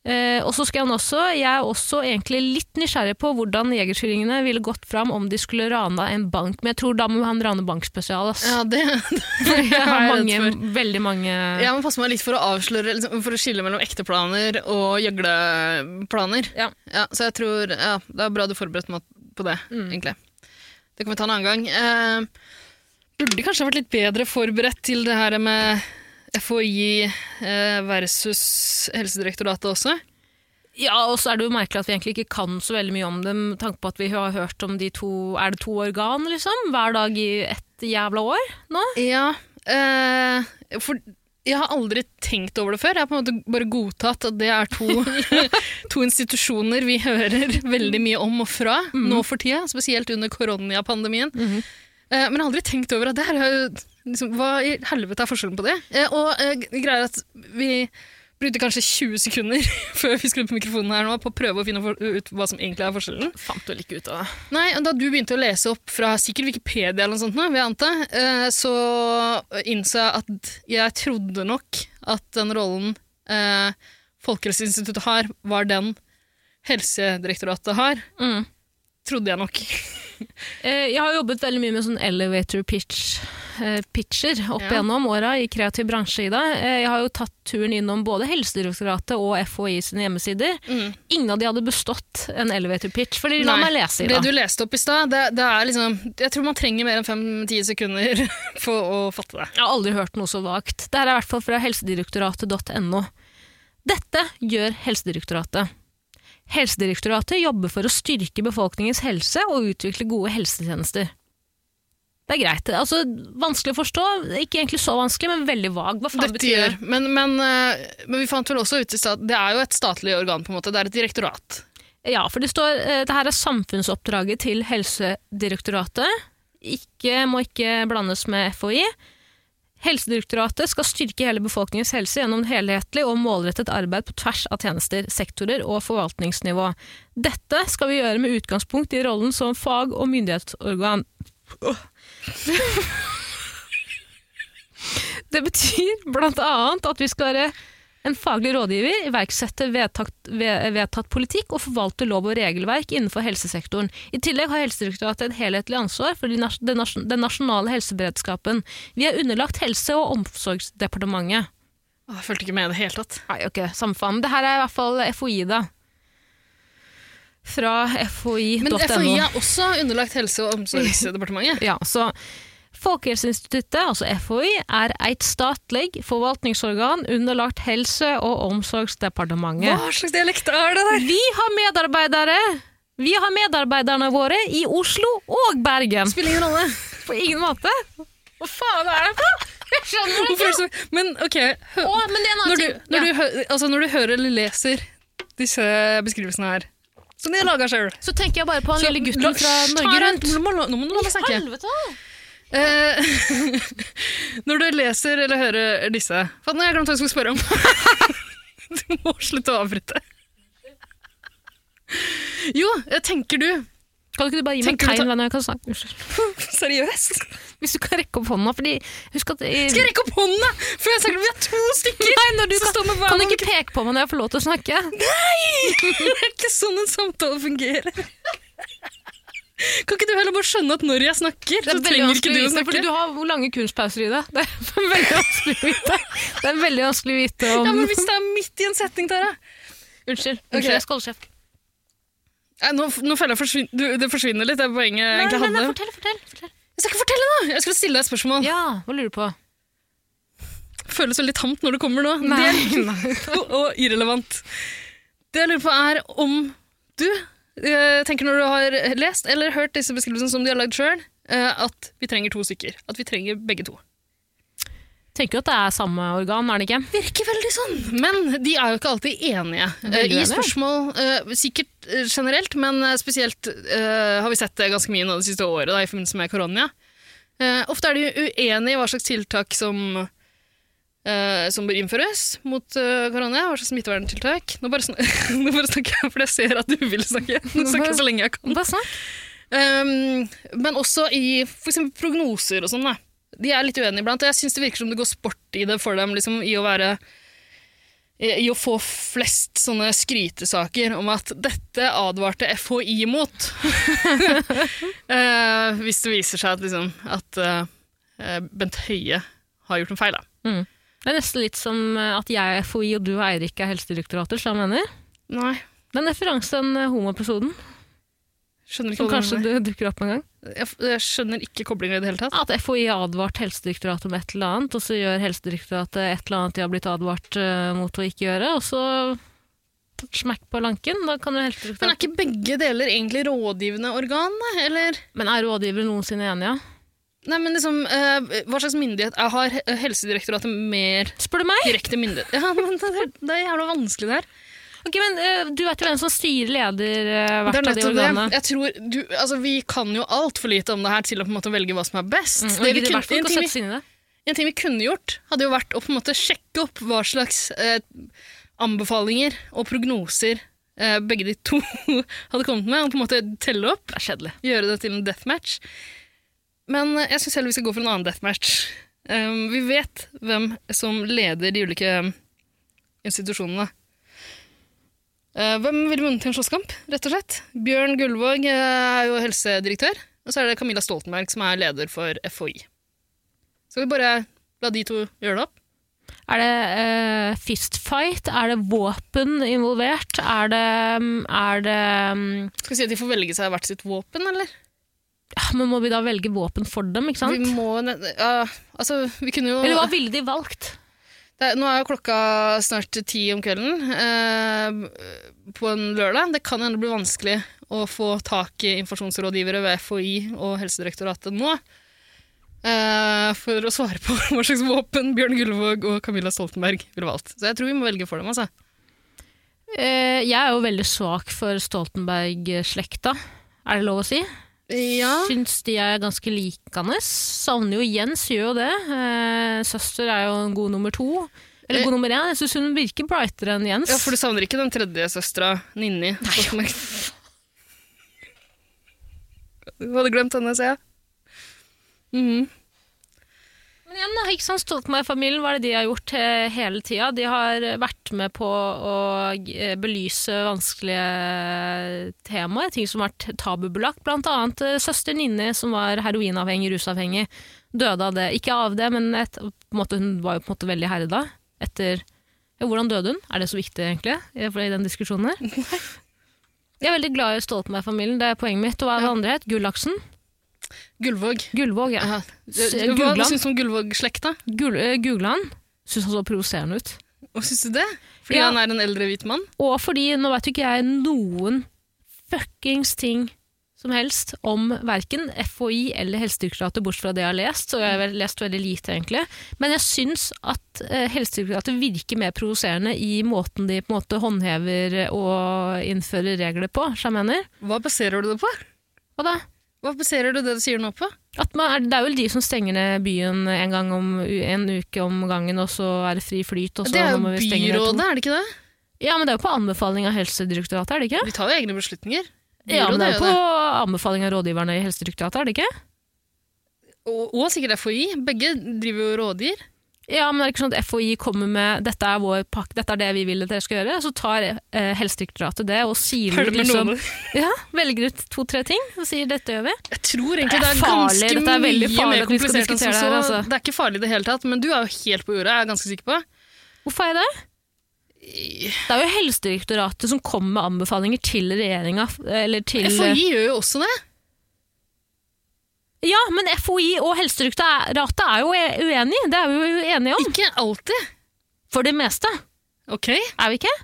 Speaker 2: Eh, og så skal han også, Jeg er også egentlig litt nysgjerrig på hvordan jegertvillingene ville gått fram om de skulle rana en bank, men jeg tror da må han rane bankspesial. ass.
Speaker 3: Ja, det,
Speaker 2: jeg har
Speaker 3: jeg er redd
Speaker 2: mange, veldig mange
Speaker 3: jeg må passe meg litt for å avsløre, liksom, for å skille mellom ekte planer og gjøgleplaner.
Speaker 2: Ja.
Speaker 3: så jeg tror ja, det er bra du forberedte meg på det, egentlig. Det kan vi ta en annen gang. Eh, burde kanskje ha vært litt bedre forberedt til det her med FHI eh, versus Helsedirektoratet også.
Speaker 2: Ja, og så er det jo merkelig at vi egentlig ikke kan så veldig mye om dem, med tanke på at vi har hørt om de to Er det to organ, liksom? Hver dag i ett jævla år nå?
Speaker 3: Ja, eh, for jeg har aldri tenkt over det før. Jeg har på en måte bare godtatt at det er to, to institusjoner vi hører veldig mye om og fra nå for tida, spesielt under koronapandemien.
Speaker 2: Mhm.
Speaker 3: eh, men jeg har aldri tenkt over at det her er jo liksom, Hva i helvete er forskjellen på det? Eh, og eh, greier at vi Brukte kanskje 20 sekunder før vi skulle på mikrofonen her nå, på å prøve å finne for- ut hva som egentlig er forskjellen.
Speaker 2: Fant vel ikke ut av det.
Speaker 3: Nei, og Da du begynte å lese opp fra sikkert Wikipedia, eller noe sånt, nå, vil jeg anta, eh, så innså jeg at jeg trodde nok at den rollen eh, Folkehelseinstituttet har, var den Helsedirektoratet har.
Speaker 2: Mm.
Speaker 3: Trodde jeg nok.
Speaker 2: Eh, Jeg har jobbet veldig mye med sånn elevator pitch, eh, pitcher opp
Speaker 3: Ja.
Speaker 2: gjennom åra i kreativ bransje, Ida. Eh, Jeg har jo tatt turen innom både Helsedirektoratet og FHI sine hjemmesider.
Speaker 3: Mm.
Speaker 2: Ingen av de hadde bestått en elevator pitch. Fordi la
Speaker 3: Nei,
Speaker 2: meg lese,
Speaker 3: Det
Speaker 2: Ida.
Speaker 3: du leste opp i stad, det, det er liksom Jeg tror man trenger mer enn fem-ti sekunder for å fatte det.
Speaker 2: Jeg har aldri hørt noe så vagt. Det her er i hvert fall fra helsedirektoratet.no. Dette gjør Helsedirektoratet. Helsedirektoratet jobber for å styrke befolkningens helse og utvikle gode helsetjenester. Det er greit. Altså, vanskelig å forstå. Ikke egentlig så vanskelig, men veldig vag. Hva faen
Speaker 3: Dette
Speaker 2: betyr
Speaker 3: gjør. Men, men, eh, men vi fant vel også ut i stad Det er jo et statlig organ, på en måte. Det er et direktorat.
Speaker 2: Ja, for det står eh, det her er samfunnsoppdraget til Helsedirektoratet. Ikke, må ikke blandes med FHI. Helsedirektoratet skal styrke hele befolkningens helse gjennom helhetlig og målrettet arbeid på tvers av tjenester, sektorer og forvaltningsnivå. Dette skal vi gjøre med utgangspunkt i rollen som fag- og myndighetsorgan. Åh. Det betyr blant annet at vi skal være en faglig rådgiver iverksetter vedtatt, ve- vedtatt politikk og forvalter lov og regelverk innenfor helsesektoren. I tillegg har Helsedirektoratet et helhetlig ansvar for de nas den, nas den nasjonale helseberedskapen. Vi er underlagt Helse- og omsorgsdepartementet.
Speaker 3: Å, Jeg fulgte ikke med i det hele tatt.
Speaker 2: Nei, ok, samme faen. Det her er i hvert fall FHI, da. Fra
Speaker 3: Men
Speaker 2: fhi.no.
Speaker 3: FHI er også underlagt Helse- og omsorgsdepartementet.
Speaker 2: Ja, så Folkehelseinstituttet, altså FHI, er et statlig forvaltningsorgan underlagt Helse- og omsorgsdepartementet.
Speaker 3: Hva slags dialekt er det der?
Speaker 2: Vi har medarbeidere Vi har medarbeiderne våre i Oslo og Bergen.
Speaker 3: Spiller ingen rolle.
Speaker 2: På ingen måte. Hva faen er det for? Jeg skjønner det
Speaker 3: Hvorfor
Speaker 2: ikke.
Speaker 3: er det så Men OK, hø
Speaker 2: Å, men det er en annen
Speaker 3: når, du,
Speaker 2: ting. Ja.
Speaker 3: når, du, hø- altså, når du hører eller leser disse beskrivelsene her, som de har laga sjøl
Speaker 2: Så tenker jeg bare på han lille gutten fra Norge Rundt.
Speaker 3: Nå må nå må du la meg snakke.
Speaker 2: Helvete!
Speaker 3: Eh, når du leser eller hører disse Faen, nå har jeg glemt hva jeg skulle spørre om. du må slutte å avbryte. Jo, jeg tenker du
Speaker 2: Kan ikke du bare gi meg
Speaker 3: Tenker du
Speaker 2: tegn
Speaker 3: ta-
Speaker 2: venn, jeg kan snakke? Unnskyld.
Speaker 3: Seriøst?
Speaker 2: Hvis du kan rekke opp hånda, fordi husk at
Speaker 3: Skal jeg rekke opp hånda før jeg snakker? Vi er to stykker! Nei, når
Speaker 2: du
Speaker 3: skal stå med hver
Speaker 2: Kan du
Speaker 3: vår-
Speaker 2: ikke peke på meg når jeg får lov til å snakke?
Speaker 3: Det er ikke sånn en samtale fungerer. Kan ikke du heller bare skjønne at når jeg snakker,
Speaker 2: Det
Speaker 3: så
Speaker 2: er veldig
Speaker 3: trenger ikke
Speaker 2: vanskelig
Speaker 3: du
Speaker 2: å
Speaker 3: å
Speaker 2: vite,
Speaker 3: snakke?
Speaker 2: fordi du har hvor lange kunstpauser i det. Det er veldig vanskelig å vite. Det er veldig vanskelig å vite om
Speaker 3: Ja, men Hvis det er midt i en setning, Tara
Speaker 2: Unnskyld,
Speaker 3: Ok.
Speaker 2: unnskyld, jeg skal holde kjeft.
Speaker 3: Nei, Nå, nå føler jeg forsvin du, det forsvinner litt, det er poenget jeg egentlig hadde.
Speaker 2: fortell, fortell, fortell.
Speaker 3: Jeg skal ikke fortelle nå! Jeg skulle stille deg et spørsmål.
Speaker 2: Ja, hva lurer du på?
Speaker 3: Føles veldig tamt når det kommer nå.
Speaker 2: Nei.
Speaker 3: Det er, og, og irrelevant. Det jeg lurer på, er om du eh, tenker når du har lest eller hørt disse beskrivelsene som de har lagd sjøl, at vi trenger to stykker. At vi trenger begge to.
Speaker 2: Tenker jo at det er samme organ, er det ikke?
Speaker 3: Virker veldig sånn! Men de er jo ikke alltid enige eh,
Speaker 2: Veldig
Speaker 3: i
Speaker 2: uenige.
Speaker 3: spørsmål. eh, sikkert eh, generelt, men eh, spesielt eh, har vi sett det ganske mye nå det siste året da, i forbindelse med korona. Eh, ofte er de uenige i hva slags tiltak som, eh, som bør innføres mot eh, korona. Hva slags smitteverntiltak. Nå bare, sn nå bare snakker jeg, for jeg ser at du vil snakke. Nå snakker jeg så lenge jeg kan.
Speaker 2: Bare snakk.
Speaker 3: Um, men også i for eksempel prognoser og sånn. da. De er litt uenige iblant. og Jeg syns det virker som det går sport i det for dem liksom, i å være i i å få flest sånne skrytesaker om at dette advarte FHI mot. Eh, hvis det viser seg at, liksom, at eh, Bent Høie har gjort en feil. Da.
Speaker 2: Det er nesten litt som eh, at jeg er FHI og du og Eirik er helsedirektorater, som jeg mener.
Speaker 3: Nei,
Speaker 2: Det er en referanse til den eh, homoepisoden,
Speaker 3: skjønner ikke
Speaker 2: som
Speaker 3: hva du
Speaker 2: kanskje
Speaker 3: mener.
Speaker 2: du dukker opp en gang.
Speaker 3: Jeg, f- jeg skjønner ikke koblinga i det hele tatt.
Speaker 2: At FHI har advart Helsedirektoratet om et eller annet, og så gjør Helsedirektoratet et eller annet de har blitt advart eh, mot å ikke gjøre, og så smekk på lanken. Da kan jo
Speaker 3: Men er
Speaker 2: Helsedirektoratet
Speaker 3: ikke begge deler egentlig rådgivende organ, da? Eller?
Speaker 2: Men er rådgivere noensinne enige?
Speaker 3: Nei, men liksom, eh, Hva slags myndighet er- har He- Helsedirektoratet mer
Speaker 2: Spør du meg?
Speaker 3: direkte myndighet? Ja, men Det er, det er jævla vanskelig det her.
Speaker 2: Ok, men eh, Du vet jo hvem som styrer leder eh,
Speaker 3: Det er
Speaker 2: hvert av de
Speaker 3: nettopp
Speaker 2: organene.
Speaker 3: det. Jeg tror, du, altså, vi kan jo altfor lite om det her til å på en måte velge hva som er best.
Speaker 2: Mm,
Speaker 3: Det
Speaker 2: og
Speaker 3: vi
Speaker 2: gidder i
Speaker 3: kun-
Speaker 2: hvert fall
Speaker 3: en
Speaker 2: ikke å
Speaker 3: ting vi-
Speaker 2: sette seg inn i det.
Speaker 3: En ting vi kunne gjort, hadde jo vært å på en måte sjekke opp hva slags eh, anbefalinger og prognoser eh, begge de to hadde kommet med, og på en måte telle opp.
Speaker 2: Det er kjedelig.
Speaker 3: Gjøre det til en deathmatch. Men eh, jeg syns heller vi skal gå for en annen deathmatch. Um, vi vet hvem som leder de ulike ehm, institusjonene. Eh, hvem ville vunnet en slåsskamp, rett og slett? Bjørn Gullvåg eh, er jo helsedirektør, og så er det Camilla Stoltenberg som er leder for FHI. Skal vi bare la de to gjøre det opp?
Speaker 2: Er det eh, fistfight? Er det våpen involvert? Er det, mm, er det mm,
Speaker 3: Skal vi si at de får velge seg hvert sitt våpen, eller?
Speaker 2: ja, Men må vi da velge våpen for dem, ikke sant?
Speaker 3: Vi må ne- ja, Altså, vi kunne jo
Speaker 2: Eller hva ville de valgt?
Speaker 3: det er, Nå er jo klokka snart ti om kvelden eh, på en lørdag. Det kan hende det blir vanskelig å få tak i informasjonsrådgivere ved FHI og Helsedirektoratet nå eh, for å svare på hva slags våpen Bjørn Gullvåg og Camilla Stoltenberg ville valgt. Så jeg tror vi må velge for dem, altså.
Speaker 2: Eh, jeg er jo veldig svak for Stoltenberg-slekta, er det lov å si?
Speaker 3: Ja.
Speaker 2: Syns de er ganske likende. Savner jo Jens, gjør jo det. Eh, søster er jo en god nummer to. Eller god nummer én. Jeg syns hun virker brightere enn Jens.
Speaker 3: Eh. ja, for du savner ikke den tredje søstera, Ninni Stoltenberg? Du hadde glemt henne, ser jeg. Mhm.
Speaker 2: Men igjen, da, ikke sant? Stoltenberg-familien, hva er det de har gjort eh, hele tida? De har eh, vært med på å eh, belyse vanskelige eh, temaer, ting som har vært tabubelagt. Blant annet eh, søster Ninni, som var heroinavhengig, rusavhengig, døde av det. Ikke av det, men et, på en måte, hun var jo på en måte veldig herda etter ja, Hvordan døde hun? Er det så viktig, egentlig, i i den diskusjonen her? Jeg er veldig glad i Stoltenberg-familien, det er poenget mitt. Og hva er det andre het? Gullaksen?
Speaker 3: Gullvåg.
Speaker 2: Gullvåg, ja.
Speaker 3: Ja.
Speaker 2: S-
Speaker 3: Hva
Speaker 2: Gugland?
Speaker 3: syns du om Gullvåg-slekta?
Speaker 2: Gull, eh, Googla han. Syns han så provoserende ut.
Speaker 3: Og syns du det? Fordi
Speaker 2: Ja.
Speaker 3: han er en eldre hvit mann?
Speaker 2: Og fordi nå vet jo ikke jeg noen fuckings ting som helst om verken FHI eller Helsedirektoratet, bortsett fra det jeg har lest, og jeg har vel lest veldig lite, egentlig. Men jeg syns at eh, Helsedirektoratet virker mer provoserende i måten de på en måte håndhever og innfører regler på, som jeg mener.
Speaker 3: Hva baserer du det på?
Speaker 2: Hva da?
Speaker 3: Hva baserer du det du sier nå på?
Speaker 2: At man er, det er vel de som stenger ned byen en, gang om, en uke om gangen, og så er det fri flyt, og så
Speaker 3: det er
Speaker 2: nå
Speaker 3: jo
Speaker 2: må vi stenge ned to.
Speaker 3: byrådet, er det ikke det?
Speaker 2: Ja, men det er jo på anbefaling av Helsedirektoratet, er det ikke?
Speaker 3: Vi tar jo egne beslutninger.
Speaker 2: Ja, men det er
Speaker 3: Byrådet
Speaker 2: jo på
Speaker 3: gjør det.
Speaker 2: anbefaling av rådgiverne i Helsedirektoratet, er det ikke?
Speaker 3: Og, og sikkert FHI. Begge driver jo og rådgir.
Speaker 2: Ja, men det er ikke sånn at FHI kommer med dette er vår pakke, dette er det vi vil at dere skal gjøre, så tar eh, Helsedirektoratet det og siler ut liksom Ja, velger ut to-tre ting og sier dette gjør vi.
Speaker 3: Jeg tror egentlig det
Speaker 2: Det
Speaker 3: er,
Speaker 2: er farlig,
Speaker 3: ganske
Speaker 2: dette er veldig
Speaker 3: mye
Speaker 2: farlig
Speaker 3: mer
Speaker 2: at vi skal
Speaker 3: komplisert enn som
Speaker 2: diskutere
Speaker 3: så.
Speaker 2: det her, altså.
Speaker 3: Det er ikke farlig i det hele tatt, men du er jo helt på jordet, er jeg ganske sikker på.
Speaker 2: Hvorfor er jeg det? Det er jo Helsedirektoratet som kommer med anbefalinger til regjeringa, eller til
Speaker 3: FHI gjør jo også det.
Speaker 2: Ja, men FHI og Helsedirektoratet er jo e- uenige, det er vi jo enige om.
Speaker 3: Ikke alltid.
Speaker 2: For det meste,
Speaker 3: Ok.
Speaker 2: er vi ikke?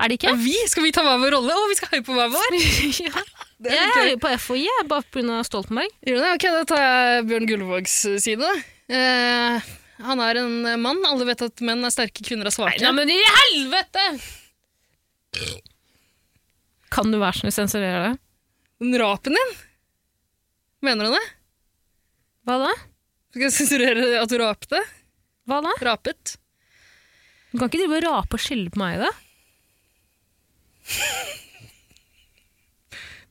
Speaker 2: Er det ikke?
Speaker 3: Ja, vi, skal vi ta hver vår rolle? Å, vi skal hype på hver vår!
Speaker 2: ja.
Speaker 3: Det
Speaker 2: Jeg
Speaker 3: litt gøy.
Speaker 2: er jo på FHI, jeg er bare pga. Stoltenberg.
Speaker 3: Gjør du det? Ok, da tar jeg Bjørn Gullvågs side. da. Eh, han er en mann. Alle vet at menn er sterke, kvinner er svake.
Speaker 2: Nei, men i helvete! Kan du være så snill sensurere det?
Speaker 3: Den rapen din? Mener du det?
Speaker 2: Hva da?
Speaker 3: Skal jeg sensurere at du rapte?
Speaker 2: Hva da?
Speaker 3: Rapet?
Speaker 2: Du kan ikke drive og rape og skylde på meg i det.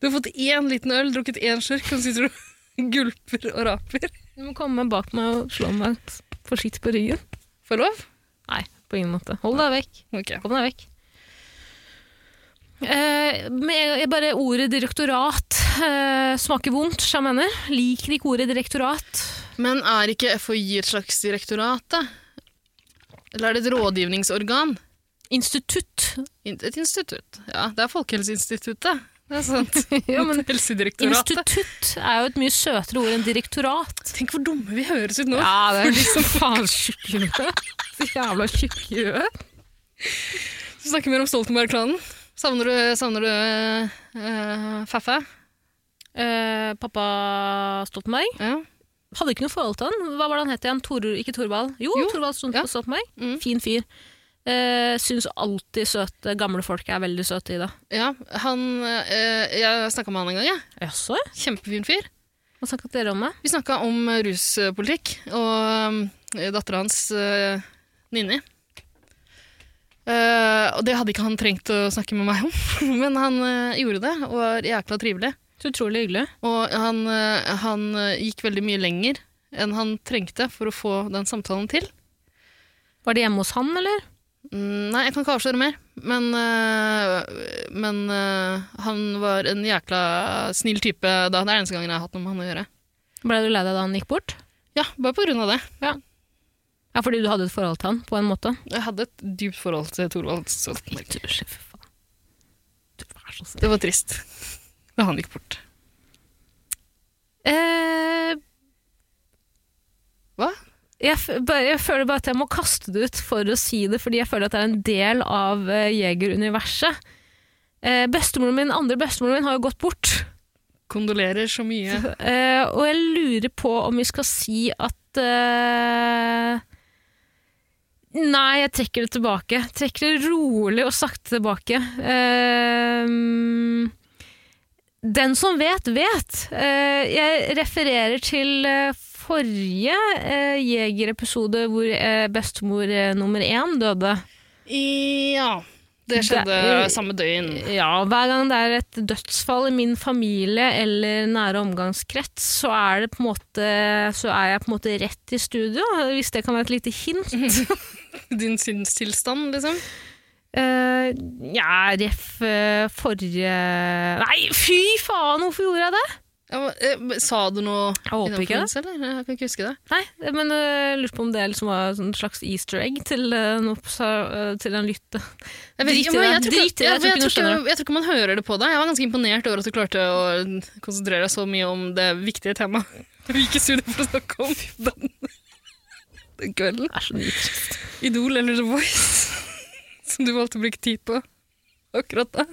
Speaker 3: Du har fått én liten øl, drukket én slurk, og så sitter du og gulper og raper.
Speaker 2: Du må komme bak meg og slå meg forsiktig på ryggen.
Speaker 3: Får jeg lov?
Speaker 2: Nei, på ingen måte. Hold deg vekk.
Speaker 3: Ok.
Speaker 2: Kom deg vekk. Eh, men jeg- bare ordet direktorat eh, smaker vondt, som jeg mener. Liker ikke ordet direktorat.
Speaker 3: Men er ikke FHI et slags direktorat, da? Eller er det et rådgivningsorgan?
Speaker 2: Institutt.
Speaker 3: Et institutt. Ja, det er Folkehelseinstituttet. Det er sant.
Speaker 2: Ja, men
Speaker 3: Helsedirektoratet.
Speaker 2: Institutt er jo et mye søtere ord enn direktorat.
Speaker 3: Tenk hvor dumme vi høres ut nå.
Speaker 2: Ja, det er liksom faen tjukkhue. Så jævla tjukkhue.
Speaker 3: Vi snakker mer om Stoltenberg-klanen. Savner du, savner du eh, Faffa?
Speaker 2: Eh, pappa Stoltenberg
Speaker 3: Ja.
Speaker 2: hadde ikke noe forhold til han. Hva var det han het igjen? Tor, ikke Torvald? Jo,
Speaker 3: Jo,
Speaker 2: Torvald Stol-
Speaker 3: ja.
Speaker 2: Stoltenberg.
Speaker 3: Mm.
Speaker 2: Fin fyr. Uh, Syns alltid søte gamle folk er veldig søte i det.
Speaker 3: ja han, eh, jeg snakka med han en gang. jeg.
Speaker 2: Jaså?
Speaker 3: Kjempefin fyr.
Speaker 2: Hva snakket dere om det?
Speaker 3: Vi snakka om eh, ruspolitikk og eh, dattera hans, eh, Nini. Eh, og det hadde ikke han trengt å snakke med meg om, men han eh, gjorde det og var jækla trivelig.
Speaker 2: Så utrolig hyggelig.
Speaker 3: Og han, eh, han eh, gikk veldig mye lenger enn han trengte for å få den samtalen til.
Speaker 2: Var det hjemme hos han, eller?
Speaker 3: Mm, Nei, jeg kan ikke avsløre mer, men, eh, men eh, han var en jækla snill type da. Det er den eneste gangen jeg har hatt noe med han å gjøre.
Speaker 2: Ble du lei deg da han gikk bort?
Speaker 3: Ja, bare på grunn av det.
Speaker 2: Ja, fordi du hadde et forhold til han, på en måte.
Speaker 3: Jeg hadde et dypt forhold til Thorvald Stoltenberg.
Speaker 2: Du, fy faen. Du er så snill.
Speaker 3: Det var trist da han gikk bort.
Speaker 2: Eh,
Speaker 3: Hva?
Speaker 2: jeg, f- bare- jeg føler bare at jeg må kaste det ut for å si det, fordi jeg føler at det er en del av eh, jegeruniverset. Eh, bestemoren min, andre bestemoren min har jo gått bort.
Speaker 3: Kondolerer så mye.
Speaker 2: Eh, og jeg lurer på om vi skal si at eh, Nei, jeg trekker det tilbake. Trekker det rolig og sakte tilbake. Eh, den som vet, vet. Eh, jeg refererer til eh, forrige eh, Jeger-episode hvor eh, bestemor eh, nummer én døde.
Speaker 3: Ja. Det skjedde
Speaker 2: Det-
Speaker 3: samme døgn.
Speaker 2: Ja, hver gang det er et dødsfall i min familie eller nære omgangskrets, så er, det på en måte, så er jeg på en måte rett i studio, hvis det kan være et lite hint.
Speaker 3: Mhm. Din sinnstilstand, liksom.
Speaker 2: Eh, ja, ref eh, forrige Nei, fy faen, hvorfor gjorde jeg det?
Speaker 3: Ja, hva- eh, sa du noe
Speaker 2: Jeg håper ikke det.
Speaker 3: forbindelse, eller? Jeg kan ikke huske det.
Speaker 2: Nei, men jeg lurte på om det liksom var en slags easter egg til, eh, en obser- eh, til en lytte.
Speaker 3: Jeg vet
Speaker 2: Drit i
Speaker 3: ikke- men
Speaker 2: det.
Speaker 3: jeg tror ikke-
Speaker 2: Drit i det. Jeg
Speaker 3: ja,
Speaker 2: tror ikke
Speaker 3: men Jeg
Speaker 2: du skjønner
Speaker 3: tror ikke- jeg tror ikke man hører det på deg. Jeg var ganske imponert over at du klarte å konsentrere deg så mye om det viktige temaet. Hvilke studier for å snakke om den, den kvelden.
Speaker 2: Det er så nitrist.
Speaker 3: Idol eller The Voice, som du valgte å bruke tid på akkurat da.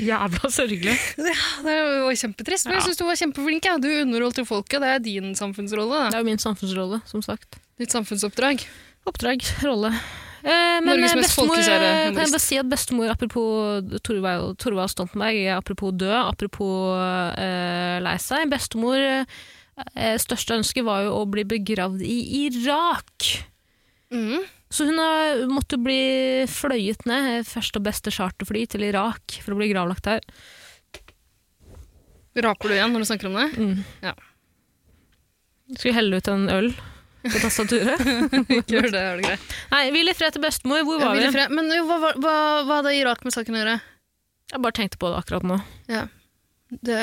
Speaker 2: Jævla sørgelig.
Speaker 3: Ah, Det var kjempetrist, men jeg syns du var kjempeflink. Ja. Du underholdt jo folket. Det er din samfunnsrolle.
Speaker 2: Det
Speaker 3: Da.
Speaker 2: er jo min samfunnsrolle, som sagt.
Speaker 3: Ditt samfunnsoppdrag.
Speaker 2: Oppdrag, rolle. Eh, men
Speaker 3: Norges
Speaker 2: eh,
Speaker 3: mest
Speaker 2: bestemor,
Speaker 3: folkekjære
Speaker 2: eh, kan jeg
Speaker 3: humorist.
Speaker 2: bare si at bestemor, apropos Torvald, Torvald Stoltenberg, apropos død, apropos eh, lei seg Bestemor eh, største ønske var jo å bli begravd i Irak.
Speaker 3: Mm.
Speaker 2: Så hun har måtte bli fløyet ned, første og beste charterfly til Irak, for å bli gravlagt der.
Speaker 3: Raper du igjen når du snakker om det?
Speaker 2: Skulle helle ut en øl på tastaturet.
Speaker 3: Ikke gjør det, er det greit.
Speaker 2: Nei, hvil i fred til bestemor, hvor
Speaker 3: Jeg
Speaker 2: var
Speaker 3: vil
Speaker 2: vi?
Speaker 3: ifra- Men jo, hva, hva, hva hva hadde Irak med saken å gjøre?
Speaker 2: Jeg bare tenkte på det akkurat nå.
Speaker 3: Det,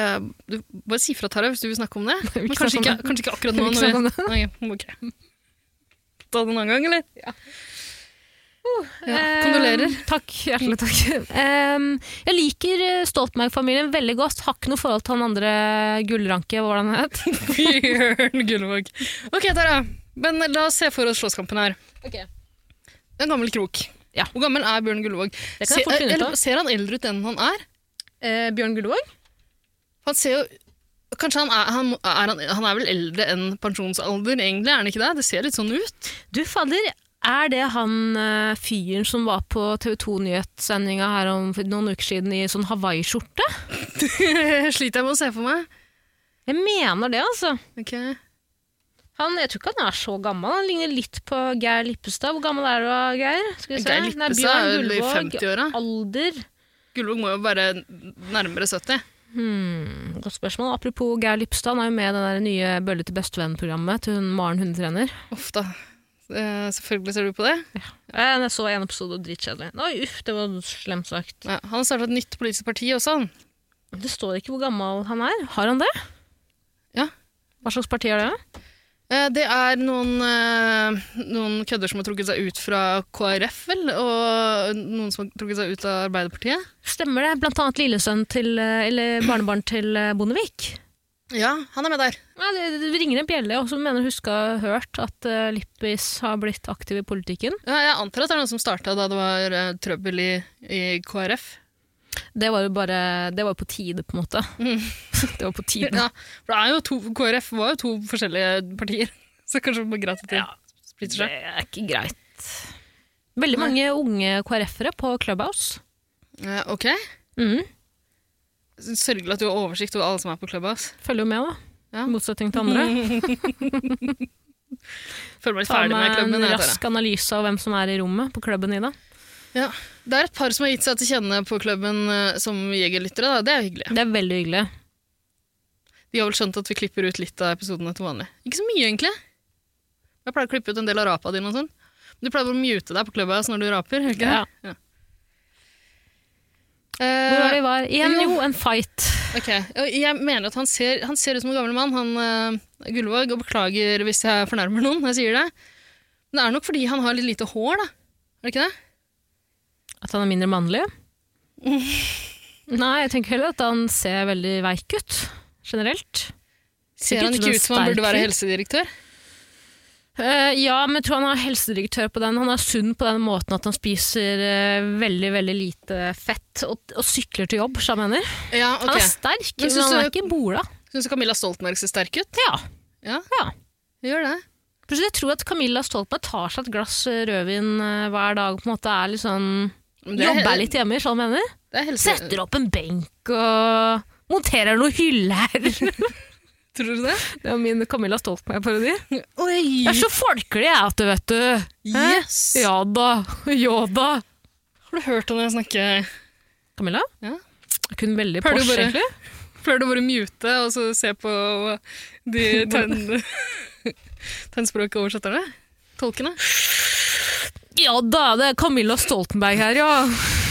Speaker 3: du, bare si fra, Tara, hvis du vil snakke om det.
Speaker 2: vil
Speaker 3: Men
Speaker 2: ikke
Speaker 3: kanskje
Speaker 2: snakke
Speaker 3: ikke,
Speaker 2: om
Speaker 3: kanskje ikke akkurat
Speaker 2: Vi
Speaker 3: nå.
Speaker 2: vil ikke
Speaker 3: Når vi,
Speaker 2: snakke
Speaker 3: nei, ok. Ta det en annen gang, eller? Uh, Ja,
Speaker 2: Eh,
Speaker 3: kondolerer.
Speaker 2: Takk, hjertelig takk. Em, Ehm, jeg liker eh, Stoltenberg-familien veldig godt. Har ikke noe forhold til han andre gullranke, hva var det han het?
Speaker 3: Bjørn Gullvåg. Ok, Tara. Men la oss se for oss slåsskampen her. En gammel krok.
Speaker 2: Ja.
Speaker 3: Hvor gammel er Bjørn Gullvåg?
Speaker 2: Det kan jeg fort finne ut
Speaker 3: eller
Speaker 2: av.
Speaker 3: Ser han eldre ut enn han er?
Speaker 2: Eh, Bjørn Gullvåg?
Speaker 3: Han ser jo Kanskje han er, han, må- er han, han er vel eldre enn pensjonsalder, egentlig? er han ikke Det Det ser litt sånn ut.
Speaker 2: Du, fadder, er det han eh, fyren som var på TV 2-nyhetssendinga her om for noen uker siden i sånn hawaiiskjorte?
Speaker 3: Sliter jeg med å se for meg.
Speaker 2: Jeg mener det, altså.
Speaker 3: Ok.
Speaker 2: Han, jeg tror ikke han er så gammel. Han ligner litt på Geir Lippestad. Hvor gammel er du, Geir? Skal vi se.
Speaker 3: Geir
Speaker 2: Nei,
Speaker 3: Lippestad
Speaker 2: Bjørn
Speaker 3: er jo i
Speaker 2: Gullvåg,
Speaker 3: 50-åra.
Speaker 2: Alder
Speaker 3: Gullvåg må jo være nærmere 70.
Speaker 2: Hmm, godt spørsmål. Apropos Geir Lippstad, han er jo med i det der nye Bølle til bestevenn-programmet til hun Maren hundetrener.
Speaker 3: Uff da. Eh, Selvfølgelig ser du på det.
Speaker 2: Eh, Jeg så en episode og dritkjedelig. Oi, uff, det var slemt sagt.
Speaker 3: Ja, han har starta et nytt politisk parti også, han.
Speaker 2: Det står ikke hvor gammel han er. Har han det?
Speaker 3: Ja.
Speaker 2: Hva slags parti er det?
Speaker 3: Eh, Det er noen, eh, noen kødder som har trukket seg ut fra KrF, vel? Og noen som har trukket seg ut av Arbeiderpartiet.
Speaker 2: Stemmer det. Blant annet lillesønn til, eh, eller barnebarn til eh, Bondevik.
Speaker 3: Ja, han er med der.
Speaker 2: Nei, det, det ringer en bjelle, og så mener jeg huska hørt at eh, Lippis har blitt aktiv i politikken.
Speaker 3: Ja, jeg antar at det er noen som starta da det var eh, trøbbel i, i KrF.
Speaker 2: Det var jo bare Det var jo på tide, på en måte. det var på tide.
Speaker 3: Ja, for det er jo to, KrF var jo to forskjellige partier, så kanskje det var greit at de
Speaker 2: Ja.
Speaker 3: splitter seg.
Speaker 2: Det er ikke greit. Veldig mange unge KrF-ere på Clubhouse.
Speaker 3: Eh, ok,
Speaker 2: Mm.
Speaker 3: sørgelig at du har oversikt over alle som er på Clubhouse.
Speaker 2: Følger jo med, da.
Speaker 3: Ja.
Speaker 2: I motsetning til andre.
Speaker 3: Føler meg litt
Speaker 2: Ta
Speaker 3: ferdig med
Speaker 2: meg
Speaker 3: klubben.
Speaker 2: en
Speaker 3: jeg, Tara.
Speaker 2: rask analyse av hvem som er i rommet på klubben i dag.
Speaker 3: Ja. Det er et par som har gitt seg til kjenne på klubben eh, som jegerlyttere. Da. Det er jo hyggelig.
Speaker 2: Det er veldig hyggelig.
Speaker 3: De har vel skjønt at vi klipper ut litt av episodene til vanlig. Ikke så mye, egentlig. Jeg pleier å klippe ut en del av rapa dine og sånn. Men Du pleier å mute deg på Clubhouse når du raper. gjør du Ikke?
Speaker 2: Ja.
Speaker 3: det? Ja.
Speaker 2: Hvor var
Speaker 3: Eh,
Speaker 2: vi var? Igjen,
Speaker 3: jo.
Speaker 2: jo, en fight.
Speaker 3: ok. Og Jeg mener at han ser, han ser ut som en gammel mann, han eh, Gullvåg, og beklager hvis jeg fornærmer noen når jeg sier det. Men det er nok fordi han har litt lite hår, da. Er det ikke det?
Speaker 2: At han er mindre mannlig? Nei, jeg tenker heller at han ser veldig veik ut, generelt.
Speaker 3: Ser han
Speaker 2: ut som
Speaker 3: ikke
Speaker 2: en
Speaker 3: ut som han
Speaker 2: sterk
Speaker 3: burde være
Speaker 2: fyr.
Speaker 3: helsedirektør?
Speaker 2: Eh, ja, men jeg tror han er helsedirektør på den. Han er sunn på den måten at han spiser eh, veldig, veldig lite fett og, og sykler til jobb, så jeg mener.
Speaker 3: Ja,
Speaker 2: Han
Speaker 3: ok.
Speaker 2: er sterk,
Speaker 3: Men
Speaker 2: men,
Speaker 3: synes
Speaker 2: han er
Speaker 3: du-
Speaker 2: ikke bola.
Speaker 3: Syns du Camilla Stoltenberg ser sterk ut?
Speaker 2: Ja.
Speaker 3: Ja.
Speaker 2: ja.
Speaker 3: Gjør det.
Speaker 2: Plutselig tror jeg at Camilla Stoltenberg tar seg et glass eh, rødvin eh, hver dag, på en måte er litt sånn
Speaker 3: Men det er-
Speaker 2: Jobber litt hjemme, sånn mener.
Speaker 3: Det er helse...
Speaker 2: Setter opp en benk og monterer noen hyller.
Speaker 3: Tror du det?
Speaker 2: Det er min Camilla Stoltenberg-parodi. Jeg
Speaker 3: Oi!
Speaker 2: er så folkelig, jeg, at du vet du. Hæ?
Speaker 3: Yes!
Speaker 2: Ja da. Ja da.
Speaker 3: Har du hørt henne snakke
Speaker 2: Camilla?
Speaker 3: Ja.
Speaker 2: Jeg kunne veldig
Speaker 3: Pleier du
Speaker 2: Porsche,
Speaker 3: bare-
Speaker 2: egentlig.
Speaker 3: Pleier du bare å mute og så se på de tegn... tegnspråkoversetterne? Tolkene?
Speaker 2: Ja da, det er Camilla Stoltenberg her, ja.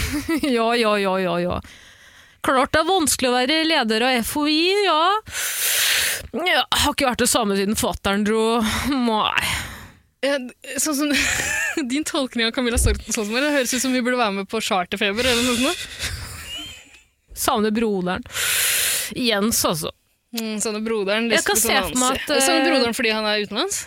Speaker 2: ja, ja, ja, ja, ja. Klart det er vanskelig å være leder av FHI, ja. ja har ikke vært det samme siden fattern dro. Nei.
Speaker 3: Eh, Sånn som Din tolkning av Camilla Stol- Stoltenberg det høres ut som vi burde være med på charterfeber eller noe sånt.
Speaker 2: Savner broderen. Jens, altså.
Speaker 3: Mm, sånn er broderen
Speaker 2: Jeg kan
Speaker 3: Lisbeth og
Speaker 2: se for meg
Speaker 3: Nancy.
Speaker 2: at, eh,
Speaker 3: Sånn er broderen fordi han er utenlands?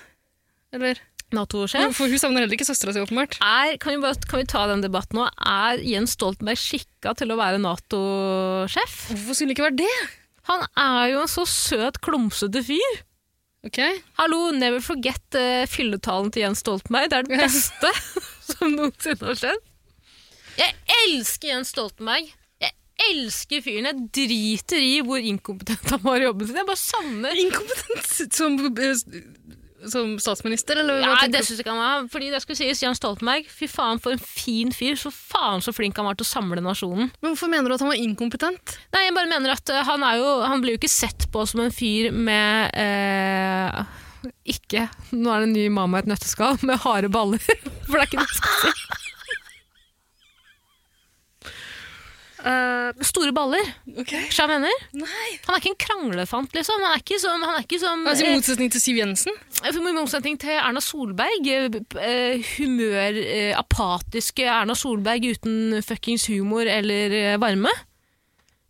Speaker 3: Eller?
Speaker 2: Nato-sjef.
Speaker 3: For hun savner heller ikke søstera si, åpenbart.
Speaker 2: Er, kan, vi bare, kan vi ta den debatten nå? Er Jens Stoltenberg skikka til å være Nato-sjef?
Speaker 3: Hvorfor skulle det ikke være det?
Speaker 2: Han er jo en så søt, klumsete fyr.
Speaker 3: Ok,
Speaker 2: Hallo, never forget eh, fylletalen til Jens Stoltenberg. Det er det beste som noensinne har skjedd. Jeg elsker Jens Stoltenberg. Jeg elsker fyren. Jeg driter i hvor inkompetent han var i jobben sin. Jeg bare savner
Speaker 3: Inkompetent som, eh, som statsminister, eller
Speaker 2: Nei, det
Speaker 3: hva tenker du?
Speaker 2: syns jeg ikke han var. Fordi det skulle sies, Jens Stoltenberg, fy faen for en fin fyr. Så faen så flink han var til å samle nasjonen.
Speaker 3: Men hvorfor mener du at han var inkompetent?
Speaker 2: Nei, jeg bare mener at eh, han, er jo, han blir jo ikke sett på som en fyr med eh, Ikke Nå er det en ny mamma i et nøtteskall, med harde baller. For det er ikke det jeg skal si. Eh, store baller,
Speaker 3: Ok.
Speaker 2: skjønner jeg mener.
Speaker 3: Nei.
Speaker 2: Han er ikke en kranglefant, liksom. Han er ikke som, han er ikke som
Speaker 3: Altså, I
Speaker 2: eh,
Speaker 3: motsetning til Siv Jensen?
Speaker 2: i motsetning til Erna Solberg, eh, b- eh, humør, eh, apatiske Erna Solberg uten fuckings humor eller eh, varme.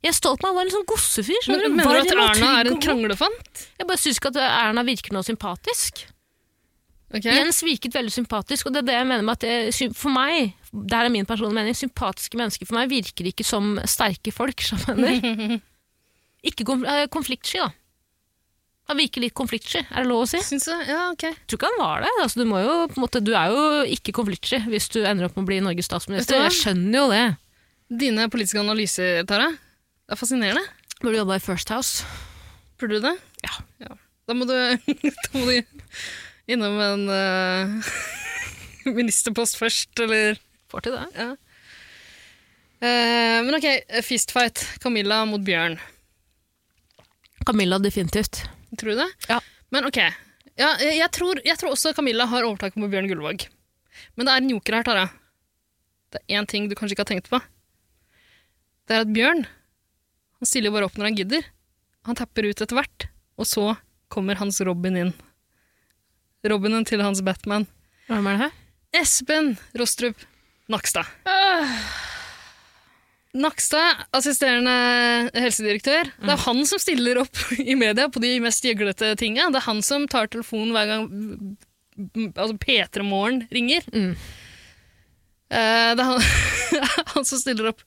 Speaker 2: Jeg er stolt av meg, var en sånn gossefyr. skjønner du?
Speaker 3: Men, mener du at
Speaker 2: Varm og
Speaker 3: Erna
Speaker 2: trygg
Speaker 3: er
Speaker 2: og
Speaker 3: en
Speaker 2: god.
Speaker 3: kranglefant?
Speaker 2: Jeg bare syns ikke at Erna virker noe sympatisk.
Speaker 3: Ok.
Speaker 2: Jens virket veldig sympatisk, og det er det jeg mener med at det, sy- for meg, der er min personlige mening, sympatiske mennesker for meg virker ikke som sterke folk, som jeg mener. Ikke konf eh, konfliktsky, da. Han virker litt konfliktsky, er det lov å si?
Speaker 3: Syns du? Ja, ok.
Speaker 2: Jeg tror ikke han var det. Altså, du, må jo, på en måte, du er jo ikke konfliktsky hvis du ender opp med å bli Norges statsminister.
Speaker 3: Vet
Speaker 2: Jeg
Speaker 3: du
Speaker 2: skjønner jo det.
Speaker 3: Dine politiske analyser, Tara, det er fascinerende.
Speaker 2: Burde jobba i First House.
Speaker 3: Burde du det?
Speaker 2: Ja.
Speaker 3: Da må du, da må du innom en eh, ministerpost først, eller
Speaker 2: Får til det.
Speaker 3: ja. Eh, men ok, fistfight. Camilla mot Bjørn.
Speaker 2: Camilla, definitivt.
Speaker 3: Tror du det?
Speaker 2: Ja.
Speaker 3: Men ok. Ja, jeg, jeg, tror, jeg tror også Camilla har overtak på Bjørn Gullvåg. Men det er en joker her, Tara. Det er én ting du kanskje ikke har tenkt på. Det er at Bjørn han stiller jo bare opp når han gidder. Han tapper ut etter hvert, og så kommer hans Robin inn. Robinen til hans Batman.
Speaker 2: Hvem er det her?
Speaker 3: Espen Rostrup Nakstad. Nakstad, assisterende helsedirektør. Det er han som stiller opp i media på de mest gjøglete tinga. Det er han som tar telefonen hver gang altså P3 Morgen ringer.
Speaker 2: Mm.
Speaker 3: Eh, Det er han, han som stiller opp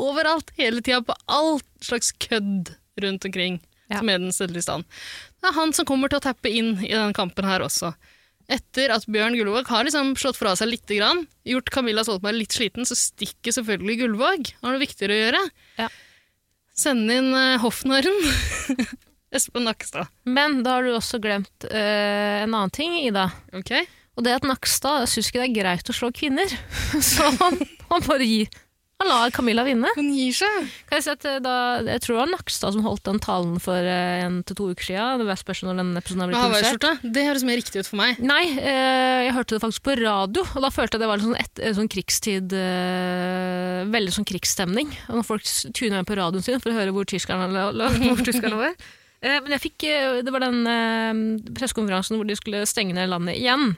Speaker 3: overalt, hele tida, på all slags kødd rundt omkring.
Speaker 2: Ja.
Speaker 3: Som er den stedlige stand. Det er han som kommer til å tappe inn i denne kampen her også. Etter at Bjørn Gullvåg har liksom slått fra seg litt, grann, gjort Camilla Stoltenberg litt sliten, så stikker selvfølgelig Gullvåg. Han har noe viktigere å gjøre.
Speaker 2: Ja.
Speaker 3: Send inn eh, hoffnarren. Espen Nakstad.
Speaker 2: Men da har du også glemt eh, en annen ting, Ida.
Speaker 3: Ok?
Speaker 2: Og det at Nakstad syns ikke det er greit å slå kvinner. Så han, han bare gir. Han lar Camilla vinne.
Speaker 3: Han gir seg.
Speaker 2: Kan jeg, si at eh, da, jeg tror det var Nakstad som holdt den talen for eh, en til to uker siden. Det var spørsmål når den episoden har
Speaker 3: Med
Speaker 2: blitt publisert.
Speaker 3: hawaiiskjorta. Det høres mer riktig ut for meg.
Speaker 2: Nei, eh, jeg hørte det faktisk på radio, og da følte jeg det var litt sånn, et, eh, sånn krigstid eh, Veldig sånn krigsstemning. Og Når folk s- tuner inn på radioen sin for å høre hvor tyskerne lå- lå- hvor tyskerne var. Eh, men jeg fikk eh, Det var den eh, pressekonferansen hvor de skulle stenge ned landet igjen.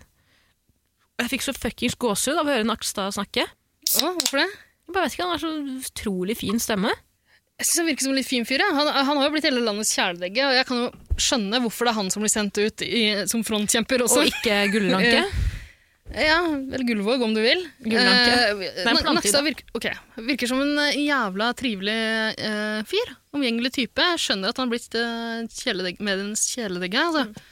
Speaker 2: Og Jeg fikk så fuckings gåsehud av å høre Nakstad snakke.
Speaker 3: Å, hvorfor det?
Speaker 2: Jeg bare vet ikke, Han har så utrolig fin stemme.
Speaker 3: Jeg synes Han virker som en litt fin fyr. Ja. Han, han har jo blitt hele landets kjæledegge, og jeg kan jo skjønne hvorfor det er han som blir sendt ut i, som frontkjemper også.
Speaker 2: Og ikke gullranke.
Speaker 3: Ja, eller Gullvåg, om du vil.
Speaker 2: Gullranke.
Speaker 3: Eh,
Speaker 2: er en
Speaker 3: Na-
Speaker 2: plante,
Speaker 3: Nakstad virker, ok. virker som en eh, jævla trivelig eh, fyr. Omgjengelig type. Jeg skjønner at han har blitt eh, kjæledegg, medienes kjæledegge. Altså.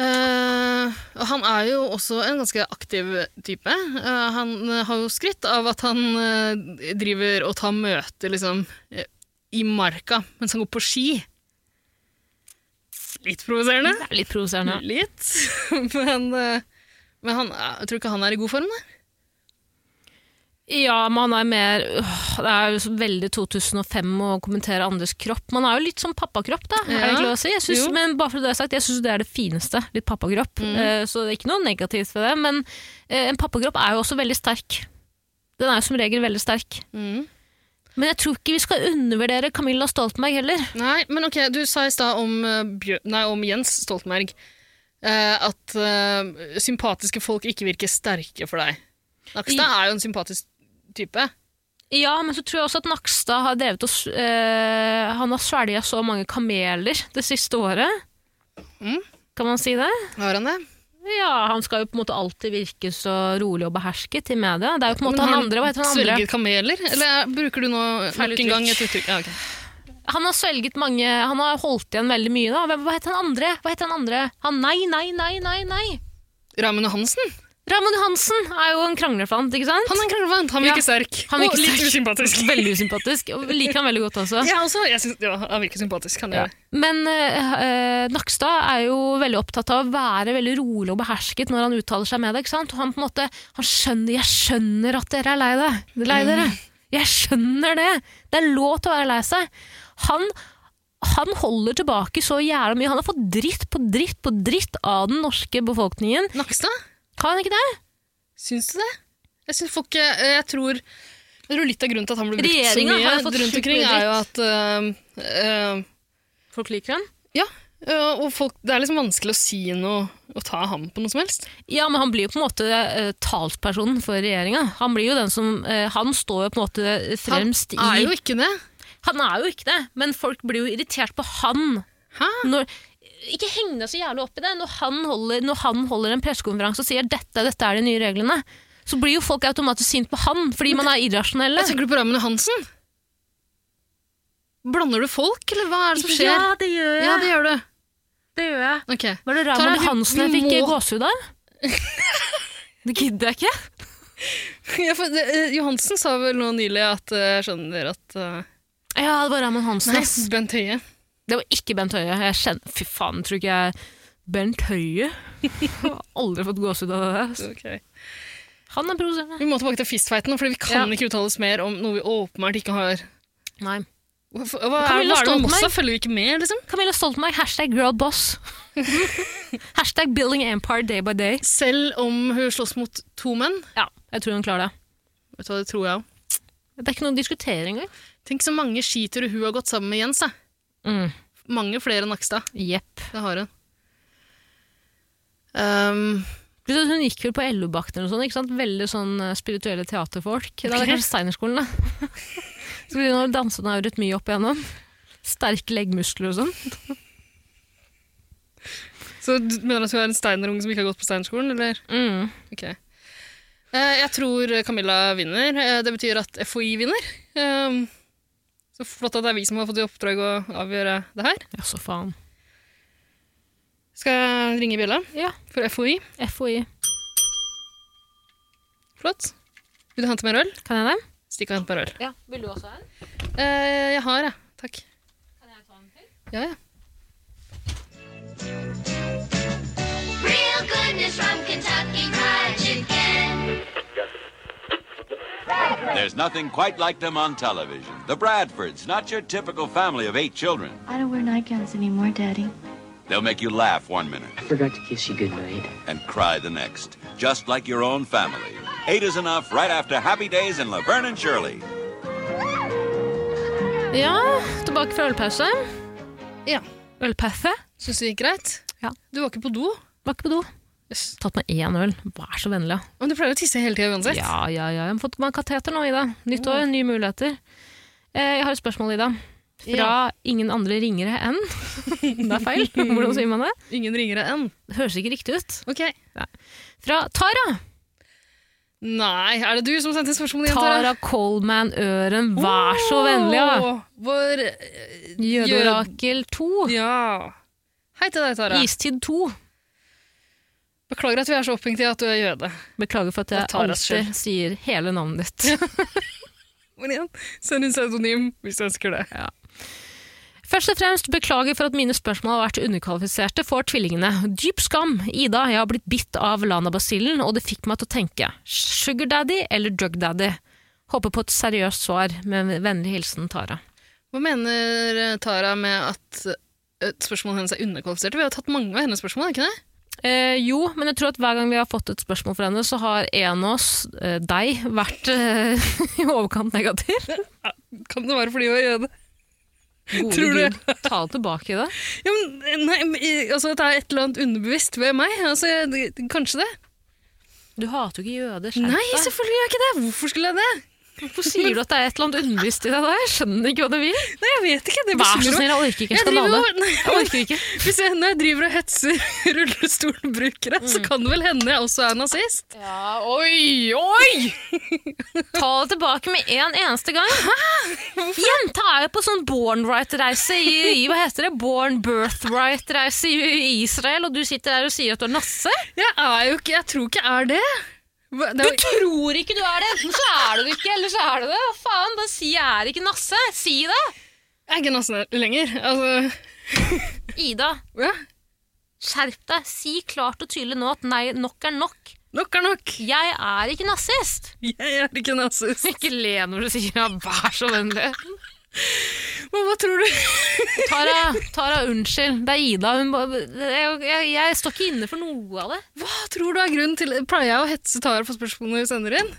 Speaker 3: Eh, og han er jo også en ganske aktiv type. Eh, han eh, har jo skrytt av at han eh, driver og tar møter liksom, eh, i marka mens han går på ski. Litt provoserende.
Speaker 2: Det er litt provoserende.
Speaker 3: Litt. Men, eh, men han, er- jeg tror ikke han er i god form, da.
Speaker 2: Ja, man er mer øh, Det er jo så veldig 2005 å kommentere andres kropp. Man er jo litt sånn pappakropp, da. Er det
Speaker 3: Ja.
Speaker 2: ikke lov å si? Jeg synes,
Speaker 3: Jo. Mm.
Speaker 2: men bare for det jeg har sagt, jeg syns det er det fineste. Litt pappakropp. Eh, så det er ikke noe negativt ved det. Men eh, en pappakropp er jo også veldig sterk. Den er jo som regel veldig sterk. Men jeg tror ikke vi skal undervurdere Camilla Stoltenberg heller.
Speaker 3: Nei, men ok, du sa i stad om, eh, Bjør- nei, om Jens Stoltenberg eh, at eh, sympatiske folk ikke virker sterke for deg. Nakstad er jo en sympatisk type.
Speaker 2: Ja, men så tror jeg også at Nakstad har drevet oss eh, Han har svelga så mange kameler det siste året.
Speaker 3: Mm.
Speaker 2: Kan man si det?
Speaker 3: Har han det?
Speaker 2: Ja, han skal jo på en måte alltid virke så rolig og behersket i media. Det er jo på en måte
Speaker 3: Men har
Speaker 2: han andre, hva heter han andre?
Speaker 3: Svelget kameler? Eller er- bruker du nå
Speaker 2: Feil
Speaker 3: nok en gang et
Speaker 2: uttrykk.
Speaker 3: uttrykk? Ja, ok.
Speaker 2: Han har svelget mange, han har holdt igjen veldig mye da. Hvem- Hva heter han andre? Hva heter han andre? Han nei, nei, nei, nei, nei.
Speaker 3: Raymond Johansen?
Speaker 2: Ramon Johansen er jo en kranglefant, ikke sant?
Speaker 3: Han er en kranglefant. Han virker
Speaker 2: Ja.
Speaker 3: sterk.
Speaker 2: Han virker
Speaker 3: og litt
Speaker 2: sterk.
Speaker 3: usympatisk.
Speaker 2: Veldig usympatisk, og liker han veldig godt også.
Speaker 3: Ja, også, jeg synes, ja, han virker sympatisk. Han gjør det.
Speaker 2: Men eh, eh, Nakstad er jo veldig opptatt av å være veldig rolig og behersket når han uttaler seg med deg. ikke sant? Og han på en måte, han skjønner, 'Jeg skjønner at dere er lei, deg, lei dere'. Jeg skjønner det! Det er lov til å være lei seg. Han, han holder tilbake så jævla mye. Han har fått dritt på dritt på dritt av den norske befolkningen.
Speaker 3: Nakstad?
Speaker 2: Kan han ikke det?
Speaker 3: Syns du det? Jeg, syns folk, eh, jeg, tror, jeg tror litt av grunnen til at han ble brukt så
Speaker 2: Regjeringen
Speaker 3: mye
Speaker 2: har jo fått
Speaker 3: rundt
Speaker 2: sjukt
Speaker 3: omkring,
Speaker 2: mye
Speaker 3: er jo at eh, eh,
Speaker 2: Folk liker han.
Speaker 3: eh, og folk, Det er liksom vanskelig å si noe og ta ham på noe som helst.
Speaker 2: Ja, men han blir jo på en måte eh, talspersonen for regjeringa. Han blir jo den som eh, Han står jo på en måte fremst
Speaker 3: han er
Speaker 2: i
Speaker 3: jo ikke det.
Speaker 2: Han er jo ikke det, men folk blir jo irritert på han.
Speaker 3: Hæ?
Speaker 2: Når, ikke heng deg så jævlig opp i det. Når han holder, når han holder en pressekonferanse og sier dette, dette er de nye reglene, så blir jo folk automatisk sint på han, fordi man er irrasjonelle.
Speaker 3: Jeg tenker du på Raymond Johansen? Blander du folk, eller hva er det som skjer?
Speaker 2: altså, Ja, det gjør jeg.
Speaker 3: Ja, det gjør du.
Speaker 2: det gjør jeg.
Speaker 3: Ok.
Speaker 2: Var det
Speaker 3: Tara,
Speaker 2: Raymond
Speaker 3: vi-
Speaker 2: Hansen jeg
Speaker 3: vi
Speaker 2: fikk
Speaker 3: må-
Speaker 2: gåsehud av? Det gidder jeg ikke.
Speaker 3: Ja, for, eh, Johansen sa vel nå nylig at eh, jeg skjønner at eh,
Speaker 2: Ja, det var Raymond Hansen.
Speaker 3: Nei,
Speaker 2: ass.
Speaker 3: Bent Høie.
Speaker 2: Det var ikke Bent Høie. Jeg kjenner, fy faen, tror ikke jeg Bent Høie? Jeg har aldri fått gåsehud av det. ass.
Speaker 3: Ok.
Speaker 2: Han er provoserende.
Speaker 3: Vi må tilbake til fistfighten, for vi kan
Speaker 2: Ja.
Speaker 3: ikke uttale oss mer om noe vi åpenbart ikke har
Speaker 2: Nei.
Speaker 3: Hva, hva er
Speaker 2: Camilla
Speaker 3: hva er det med
Speaker 2: Stoltenberg?
Speaker 3: Mossa? Følger vi ikke med, liksom?
Speaker 2: Camilla Stoltenberg, hashtag girlboss. hashtag building empire day by day.
Speaker 3: Selv om hun slåss mot to menn.
Speaker 2: Ja, jeg tror hun klarer det.
Speaker 3: Vet du hva, det tror jeg òg.
Speaker 2: Det er ikke noe å diskutere engang.
Speaker 3: Tenk så mange skitere hun har gått sammen med Jens, da.
Speaker 2: Mm,
Speaker 3: Mange flere enn Nakstad.
Speaker 2: Jepp.
Speaker 3: Det har hun. Ehm,
Speaker 2: Du vet, Hun gikk vel på LO-bakten og sånn, ikke sant? Veldig sånn eh, spirituelle teaterfolk. Det er
Speaker 3: Ok.
Speaker 2: kanskje Steinerskolen, da. Så begynner hun å danse den rytmie opp igjennom. Sterke leggmuskler og sånn.
Speaker 3: så du mener at hun er en steinerunge som ikke har gått på Steinerskolen, eller?
Speaker 2: Mm.
Speaker 3: Ok. Eh, jeg tror Camilla vinner. Eh, det betyr at FHI vinner. Ehm, så flott at det er vi som har fått i oppdrag å avgjøre det her.
Speaker 2: Ja, så faen.
Speaker 3: Skal jeg ringe bjella
Speaker 2: Ja,
Speaker 3: for FHI?
Speaker 2: FHI.
Speaker 3: Flott. Vil du hente mer øl?
Speaker 2: Kan jeg det?
Speaker 3: Stikk og hent meg en øl.
Speaker 2: Ja, Vil du også ha en?
Speaker 3: Eh, jeg har, jeg. Takk.
Speaker 2: Kan jeg ta en til?
Speaker 3: Ja, ja.
Speaker 4: Real goodness from Kentucky Fried Chicken.
Speaker 5: There's nothing quite like them on television. The Bradfords, not your typical family of eight children.
Speaker 6: I don't wear nightgowns anymore, Daddy.
Speaker 5: They'll make you laugh one minute
Speaker 7: Forgot to kiss you goodnight.
Speaker 5: and cry the next, just like your own family. Eight is enough right after Happy Days and Laverne and Shirley.
Speaker 2: Ja, tilbake fra ølpause.
Speaker 3: Ja.
Speaker 2: Ølpause.
Speaker 3: Syns det gikk greit?
Speaker 2: Ja.
Speaker 3: Du var ikke på do?
Speaker 2: Var ikke på do.
Speaker 3: Yes.
Speaker 2: Tatt med én øl. Vær så vennlig. da.
Speaker 3: Men du pleier å tisse hele tida uansett?
Speaker 2: Ja, ja, ja. Jeg har fått meg kateter nå, Ida. Nytt år, nye muligheter. Eh, jeg har et spørsmål, Ida. Fra
Speaker 3: Ja.
Speaker 2: ingen andre ringere enn Det er feil. Hvordan sier man det?
Speaker 3: Ingen ringere enn?
Speaker 2: Det høres ikke riktig ut.
Speaker 3: Ok.
Speaker 2: Fra Tara.
Speaker 3: Nei, er det du som sendte spørsmålet igjen, Tara?
Speaker 2: Tara Coleman Øren, vær så vennlig. Ja.
Speaker 3: Åh, Vår eh,
Speaker 2: Jødeorakel 2.
Speaker 3: Ja. Hei til deg, Tara.
Speaker 2: Istid 2.
Speaker 3: Beklager at vi er så opphengt i at du er jøde.
Speaker 2: Beklager for at jeg
Speaker 3: Det er Taras
Speaker 2: alltid sier hele navnet ditt.
Speaker 3: Men igjen, send inn pseudonym hvis du ønsker det.
Speaker 2: Først og fremst beklager for at mine spørsmål har vært underkvalifiserte for tvillingene. Dyp skam. Ida, jeg har blitt bitt av lanabasillen, og det fikk meg til å tenke. Sugar daddy eller drug daddy? Håper på et seriøst svar. Med vennlig hilsen Tara.
Speaker 3: Hva mener eh, Tara med at eh, spørsmålene hennes er underkvalifiserte? Vi har tatt mange av hennes spørsmål, ikke det?
Speaker 2: Eh, jo, men jeg tror at hver gang vi har fått et spørsmål fra henne, så har en av oss, eh, deg, vært eh, i overkant negativ.
Speaker 3: Kan det være fordi hun er jøde?
Speaker 2: Gode
Speaker 3: Tror du?
Speaker 2: Gud, ta det tilbake i det.
Speaker 3: Ja, men, eh, nei, men, i- altså, det er et eller annet underbevisst ved meg. Altså, jeg, det- kanskje det?
Speaker 2: Du hater jo ikke jøder. skjerp
Speaker 3: Nei,
Speaker 2: deg.
Speaker 3: selvfølgelig gjør jeg ikke det! Hvorfor skulle jeg det?
Speaker 2: Hvorfor sier du at det er et eller annet underbevisst i deg da? Jeg skjønner ikke hva du vil.
Speaker 3: Nei, jeg vet ikke. Det
Speaker 2: Vær så
Speaker 3: bekymrer meg.
Speaker 2: snill, jeg orker ikke en
Speaker 3: Jeg driver
Speaker 2: skandale.
Speaker 3: jo- nei,
Speaker 2: Jeg orker ikke.
Speaker 3: Hvis jeg, når jeg driver og hetser rullestolbrukere, så kan det vel hende jeg også er nazist.
Speaker 2: Mm. oi, oi! Ta det tilbake med en eneste gang. Jenta er jo på sånn born right-reise i, i Hva heter det? Born birthright-reise i i Israel, og du sitter der og sier at du er nasse?
Speaker 3: Jeg er jo ikke Jeg tror ikke jeg er det. Hva- det er, jo-
Speaker 2: tror ikke du er det! Enten så er du det ikke, eller så er du det. Hva faen? Bare si jeg er ikke nasse. Si det.
Speaker 3: jeg er ikke nazist lenger. Altså,
Speaker 2: Ida,
Speaker 3: ja.
Speaker 2: skjerp deg. Si klart og tydelig nå at nei, nok er nok.
Speaker 3: Nok er nok.
Speaker 2: Jeg er ikke nazist!
Speaker 3: Jeg er ikke nazist.
Speaker 2: Ikke le når du sier ja, vær så vennlig.
Speaker 3: Men hva tror du?
Speaker 2: Tara, Tara unnskyld. Det er Ida. Hun, ba- jeg, jeg, jeg står ikke inne for noe av det.
Speaker 3: Hva tror du er grunnen til Pleier jeg å hetse Tara på spørsmålene hun sender inn?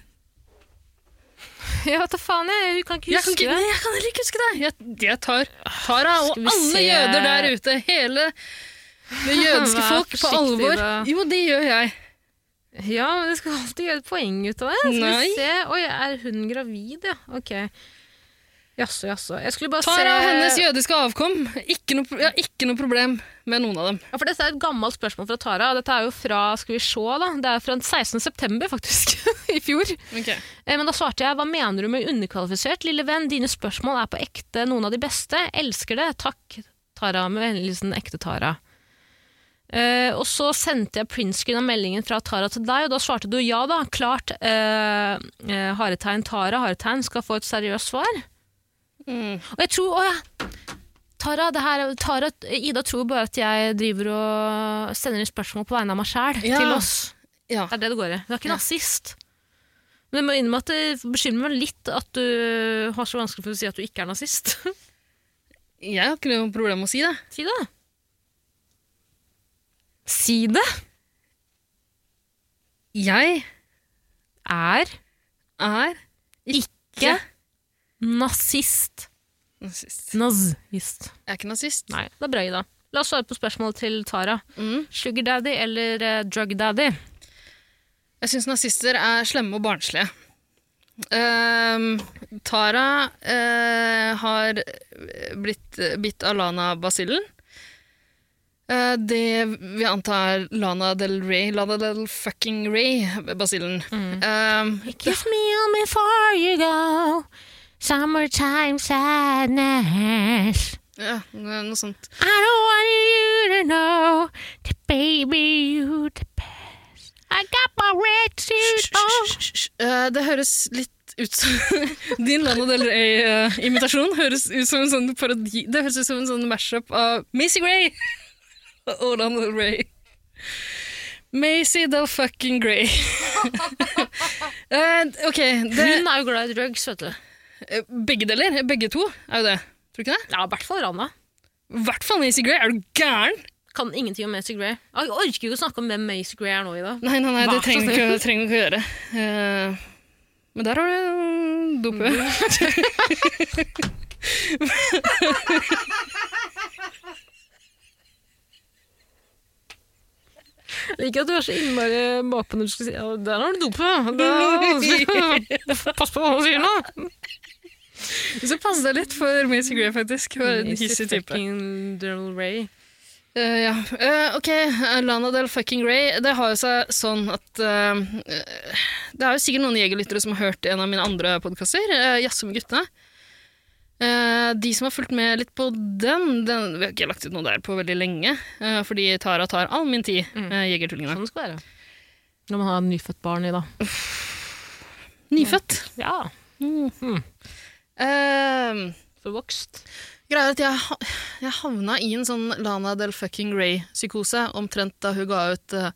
Speaker 2: Jeg vet da faen, jeg, hun kan ikke
Speaker 3: Jeg kan,
Speaker 2: huske
Speaker 3: ikke, nei, jeg kan heller ikke huske det. Jeg, jeg tar Tara og
Speaker 2: Skal vi
Speaker 3: alle
Speaker 2: se.
Speaker 3: jøder der ute, hele det jødiske
Speaker 2: Vær
Speaker 3: folk, på
Speaker 2: forsiktig,
Speaker 3: alvor.
Speaker 2: da.
Speaker 3: Jo, det gjør jeg.
Speaker 2: det. Ja, men Du skal alltid gjøre et poeng ut av det. Skal
Speaker 3: Nei.
Speaker 2: vi se. Oi, er hun gravid, ja? Ok. Jaså, jaså. Jeg skulle bare
Speaker 3: Tara og
Speaker 2: se
Speaker 3: hennes jødiske avkom. Ikke noe, pro- jeg har ikke noe problem med noen av dem.
Speaker 2: ja, For Dette er et gammelt spørsmål fra Tara. og Dette er jo fra skal vi se, da. Det er fra 16. september, faktisk. I fjor. Eh, Men da svarte jeg, hva mener du med underkvalifisert, lille venn? Dine spørsmål er på ekte, noen av de beste. Elsker det. Takk, Tara, med vennligheten ekte Tara. Eh, og så sendte jeg printscreen av meldingen fra Tara til deg, og da svarte du ja da, klart. eh, eh, haretegn Tara, haretegn skal få et seriøst svar.
Speaker 3: Mm.
Speaker 2: Og jeg tror, å ja, Tara, det her, Tara, Ida tror bare at jeg driver og sender inn spørsmål på vegne av meg selv
Speaker 3: Ja.
Speaker 2: til oss.
Speaker 3: Ja.
Speaker 2: Det er det det går i. Du er ikke
Speaker 3: Ja.
Speaker 2: nazist. Men jeg må innrømme at det bekymrer meg litt at du har så vanskelig for å si at du ikke er nazist.
Speaker 3: Jeg har ikke noe problem med å si det.
Speaker 2: si det. Si det
Speaker 3: Jeg
Speaker 2: er
Speaker 3: er
Speaker 2: ikke nazist.
Speaker 3: nazist.
Speaker 2: Nazist.
Speaker 3: Jeg er ikke nazist.
Speaker 2: Nei, det er bra, Ida. La oss svare på spørsmålet til Tara.
Speaker 3: Mm.
Speaker 2: Sugar daddy eller eh, drug daddy?
Speaker 3: Jeg syns nazister er slemme og barnslige. Ehm, Tara eh, har blitt eh, bitt av Lana-basillen. Eh, det vi antar er Lana del Rey, Lana del fucking Rey-basillen. Ehm,
Speaker 2: Kiss me on before you go. Summertime sadness.
Speaker 3: ja, noe sånt.
Speaker 2: I don't want you to know the baby you the best. I got my red suit
Speaker 3: Hysj, hysj, hysj, hysj. Eh, det høres litt ut som Din Lana Del Rey-imitasjon høres ut som en sånn parodi Det høres ut som en sånn mashup av Macy Gray og Lana Del Rey. Macy Del Fucking Grey. Eh, ok, det,
Speaker 2: Hun er jo glad i drugs, vet du.
Speaker 3: eh, begge deler. Begge to er jo det. Tror du ikke det?
Speaker 2: Ja, i hvert fall Rana.
Speaker 3: I hvert fall Macy Gray. Er du gæren?
Speaker 2: Kan ingenting om Macy Gray. Jeg orker ikke å snakke om hvem Macy Gray er nå, Ida.
Speaker 3: Nei, nei, nei, det
Speaker 2: Vær så
Speaker 3: trenger du
Speaker 2: snill.
Speaker 3: ikke, trenger du ikke å gjøre. Eh, men der har du dopet.
Speaker 2: Jeg liker at du er så innmari bakpå når du skal si ja, der har du dopet. Pass på hva du sier nå.
Speaker 3: Så pass deg litt for Macy Gray, faktisk. Hun er en hissig type.
Speaker 2: fucking Del Rey.
Speaker 3: Eh, ja. Eh, ok, eh, Lana Del fucking Ray. Det har jo seg sånn at eh, eh, Det er jo sikkert noen jegerlyttere som har hørt en av mine andre podkaster, uh, 'Jazze med guttene'. Eh, de som har fulgt med litt på den, den Vi har ikke lagt ut noe der på veldig lenge, eh, fordi Tara tar all min tid, eh, Jegertullingene.
Speaker 2: Sånn det skal være. Når man har et nyfødt barn, Ida. Mm.
Speaker 3: Nyfødt.
Speaker 2: Ja,
Speaker 3: Eh,
Speaker 2: forvokst.
Speaker 3: Greia er at jeg, ha- jeg havna i en sånn Lana del fucking Ray-psykose omtrent da hun ga ut eh,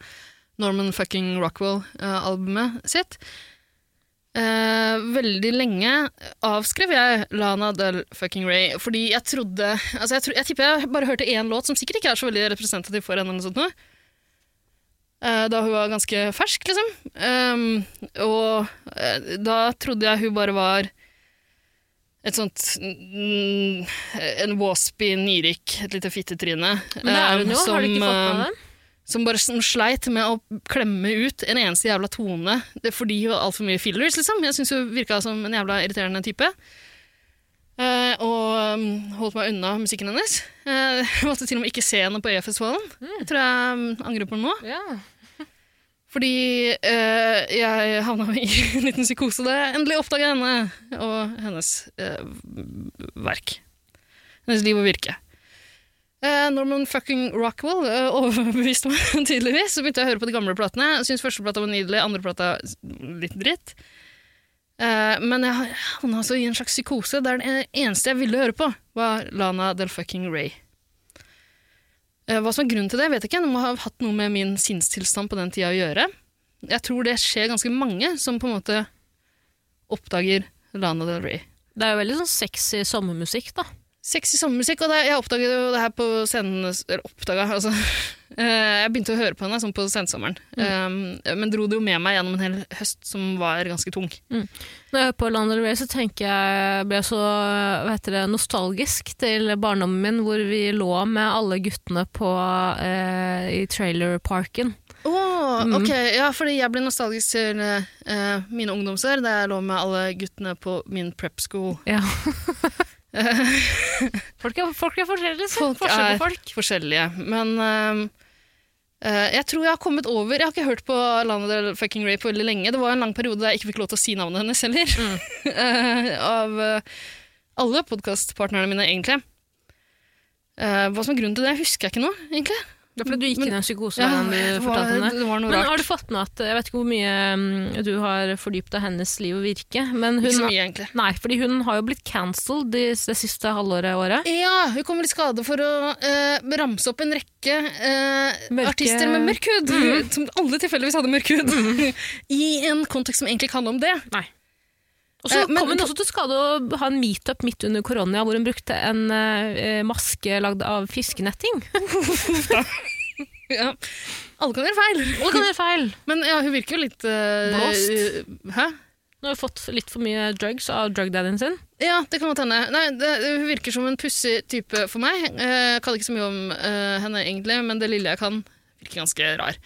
Speaker 3: Norman fucking Rockwell-albumet sitt. Eh, veldig lenge avskrev jeg Lana del fucking Ray fordi jeg trodde altså jeg, tro, jeg tipper jeg bare hørte én låt som sikkert ikke er så veldig representativ for henne. eller noe sånt nå. Eh, Da hun var ganske fersk, liksom. Ehm, og eh, da trodde jeg hun bare var et sånt mm, En waspy nyrik, et lite fittetryne.
Speaker 2: Men det er hun
Speaker 3: eh,
Speaker 2: jo, har du ikke fått
Speaker 3: eh,
Speaker 2: med deg?
Speaker 3: som bare som sleit med å klemme ut en eneste jævla tone det, fordi hun var altfor mye fillers, liksom. Jeg syns hun virka som en jævla irriterende type. Eh, og mm, holdt meg unna musikken hennes. Eh, jeg måtte til og med ikke se henne på E E-festivalen. Jeg tror jeg mm, angrer på det nå.
Speaker 2: Ja.
Speaker 3: Fordi eh, jeg havna i en liten psykose da jeg endelig oppdaga henne og hennes eh, verk. Hennes liv og virke. Eh, Norman fucking Rockwell eh, overbeviste meg tydeligvis. Så begynte jeg å høre på de gamle platene. Jeg Syntes første plata var nydelig, andre plata s- litt dritt. Eh, men jeg havna altså i en slags psykose der det eneste jeg ville høre på, var Lana del fucking Ray. Eh, Hva som er grunnen til det, vet jeg ikke. Det må ha hatt noe med min sinnstilstand på den tida å gjøre. Jeg tror det skjer ganske mange som på en måte oppdager Lana Del Rey.
Speaker 2: Det er jo veldig sånn sexy sommermusikk, da.
Speaker 3: Sexy sommermusikk, og det, jeg oppdaget jo det her på scenen Eller oppdaga, altså. Eh, Jeg begynte å høre på henne sånn på sensommeren. Eh, Men dro det jo med meg gjennom en hel høst som var ganske tung.
Speaker 2: Når jeg hører på Lana Del Rey, så tenker jeg ble jeg så hva heter det, nostalgisk til barndommen min, hvor vi lå med alle guttene på, eh, i trailerparken.
Speaker 3: Å, ok. Ja, fordi jeg ble nostalgisk til eh, mine ungdomsår, da jeg lå med alle guttene på min prep school.
Speaker 2: Ja. folk, er, folk er forskjellige, så.
Speaker 3: Folk
Speaker 2: Forskjell
Speaker 3: er
Speaker 2: på folk.
Speaker 3: forskjellige. Men øhm, øh, jeg tror jeg har kommet over Jeg har ikke hørt på Lana Del fucking Ray på veldig lenge. Det var en lang periode der jeg ikke fikk lov til å si navnet hennes heller. Eh, av øh, alle podkastpartnerne mine, egentlig. Eh, hva som er grunnen til det, husker jeg ikke nå, egentlig.
Speaker 2: Det er fordi du gikk
Speaker 3: Men-
Speaker 2: inn i en psykose.
Speaker 3: Ja,
Speaker 2: da du
Speaker 3: det, var,
Speaker 2: fortalte om det.
Speaker 3: det var noe
Speaker 2: Men
Speaker 3: rart.
Speaker 2: har du fått med at Jeg vet ikke hvor mye mm, du har fordypt deg i hennes liv og virke, men
Speaker 3: Ikke så
Speaker 2: hun,
Speaker 3: mye, egentlig.
Speaker 2: nei, fordi hun har jo blitt cancelled det de det siste halvåret året.
Speaker 3: Ja, hun kommer i skade for å eh, ramse opp en rekke eh,
Speaker 2: Mørke- Mhm.
Speaker 3: artister med mørk hud, som alle tilfeldigvis hadde mørk hud, i en kontekst som egentlig ikke handler om det.
Speaker 2: Og så
Speaker 3: Eh, men-
Speaker 2: kom hun også til skade å ha en meetup midt under korona, hvor hun brukte en eh, maske lagd av fiskenetting.
Speaker 3: Ja. Alle kan gjøre feil.
Speaker 2: Alle kan gjøre feil.
Speaker 3: Men ja, hun virker jo litt eh,
Speaker 2: Blåst.
Speaker 3: Hæ?
Speaker 2: Nå har hun fått litt for mye drugs av drugdaddyen sin.
Speaker 3: Ja, det kan godt hende. Nei, det, hun virker som en pussig type for meg. Eh, Jeg kan ikke så mye om eh, henne, egentlig, men det lille jeg kan, virker ganske rar.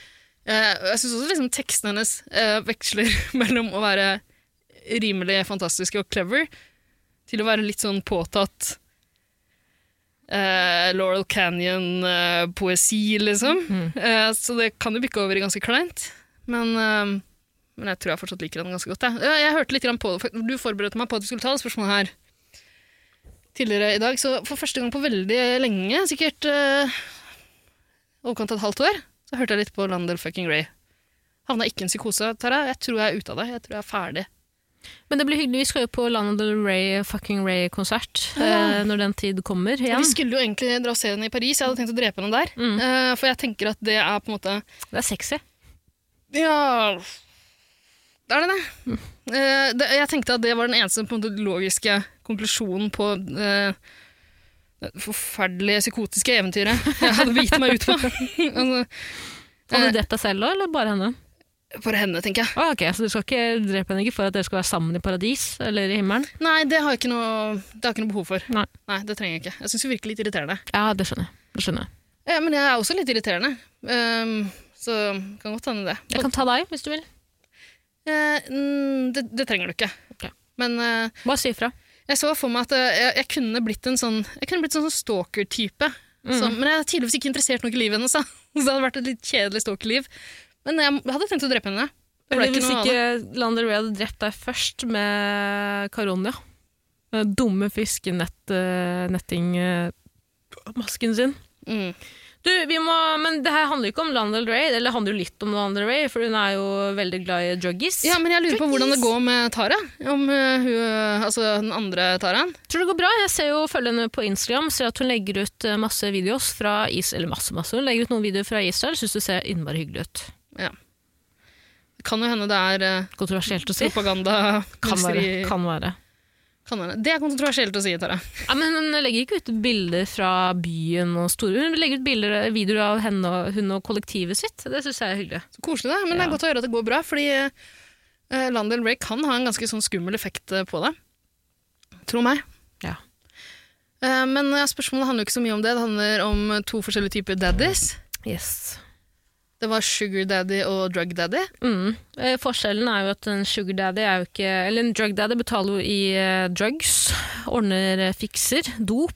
Speaker 3: Eh, og jeg syns også liksom, tekstene hennes eh, veksler mellom å være rimelig fantastisk og clever til å være litt sånn påtatt eh, Laurel Canyon-poesi, liksom. Eh, så det kan jo bikke over i ganske kleint. Men, eh, men jeg tror jeg fortsatt liker henne ganske godt. Jeg, jeg, jeg hørte litt grann på det, for Du forberedte meg på at du skulle ta det spørsmålet her tidligere i dag. Så for første gang på veldig lenge, sikkert eh, overkant av et halvt år, så hørte jeg litt på Landel fucking Ray. Havna ikke i en psykose, Tara. Jeg tror jeg er ute av det. Jeg tror jeg er ferdig.
Speaker 2: Men det blir hyggelig. Vi skal jo på Lana Del Rey fucking Ray-konsert eh, når den tid kommer
Speaker 3: Ja.
Speaker 2: igjen.
Speaker 3: Vi skulle jo egentlig dra og se henne i Paris. Jeg hadde tenkt å drepe henne der.
Speaker 2: Mm.
Speaker 3: Eh, for jeg tenker at det er på en måte
Speaker 2: Det er sexy.
Speaker 3: Ja Er det det? Eh, det? Jeg tenkte at det var den eneste på en måte, logiske konklusjonen på eh, det forferdelige psykotiske eventyret jeg hadde begitt meg ut på. altså,
Speaker 2: Har
Speaker 3: Eh.
Speaker 2: du drept deg selv da, eller bare henne?
Speaker 3: for henne, tenker jeg.
Speaker 2: Å, ok, Så du skal ikke drepe henne ikke for at dere skal være sammen i paradis eller i himmelen?
Speaker 3: Nei, det har jeg ikke noe, det har jeg ikke noe behov for.
Speaker 2: Nei.
Speaker 3: det trenger jeg ikke. Jeg syns hun virker litt irriterende.
Speaker 2: Ja, det skjønner jeg. Det skjønner jeg.
Speaker 3: Eh, men jeg er også litt irriterende, um, så kan godt hende det.
Speaker 2: jeg kan ta deg, hvis du vil.
Speaker 3: Eh, mm, det, det trenger du ikke.
Speaker 2: Ok.
Speaker 3: Men eh,
Speaker 2: Bare si ifra.
Speaker 3: Jeg så for meg at eh, jeg, jeg kunne blitt en sånn, jeg kunne blitt en sånn stalker-type.
Speaker 2: Mm.
Speaker 3: Så- Men jeg er tydeligvis ikke interessert nok i livet hennes. da. Så det hadde vært et litt kjedelig stalker-liv. Men jeg hadde tenkt å drepe henne. Det ble
Speaker 2: Eller
Speaker 3: ikke
Speaker 2: hvis
Speaker 3: noe av det.
Speaker 2: ikke Lana Del Rey hadde drept deg først med Caronia. Den Dumme eh, fiskenettingmasken sin.
Speaker 3: Mm.
Speaker 2: Du, vi må, men det her handler jo ikke om Lana Del Rey, eller det handler jo litt om Lana Del Rey, for hun er jo veldig glad i juggies.
Speaker 3: Ja, men jeg lurer på hvordan det går med Tara. Om eh, hun, altså den andre Taraen.
Speaker 2: Tror det går bra. Jeg ser jo følger henne på Instagram, ser at hun legger ut eh, masse videoer fra Is eller masse, masse. Hun legger ut noen videoer fra Israel, syns det ser innmari hyggelig ut.
Speaker 3: Ja. Det kan jo hende det er eh,
Speaker 2: Kontroversielt å si.
Speaker 3: propaganda
Speaker 2: Kan være.
Speaker 3: industri-
Speaker 2: Kan være.
Speaker 3: Kan hende. Det er kontroversielt å si, Tara.
Speaker 2: Ja, men hun legger ikke ut bilder fra byen og store Hun legger ut bilder, videoer av henne og, hun og kollektivet sitt. Det syns jeg er hyggelig.
Speaker 3: Så koselig, da. Men det
Speaker 2: Ja.
Speaker 3: er godt å høre at det går bra, fordi eh, uh, Landel Ray kan ha en ganske sånn skummel effekt eh, på det. Tro meg.
Speaker 2: Ja.
Speaker 3: Eh, men eh, spørsmålet handler jo ikke så mye om det. Det handler om eh, to forskjellige typer daddies.
Speaker 2: Yes.
Speaker 3: Det var sugar daddy og drug daddy.
Speaker 2: Mm. Eh, forskjellen er jo at en sugar daddy er jo ikke Eller en drug daddy betaler jo i eh, drugs, ordner eh, fikser, dop.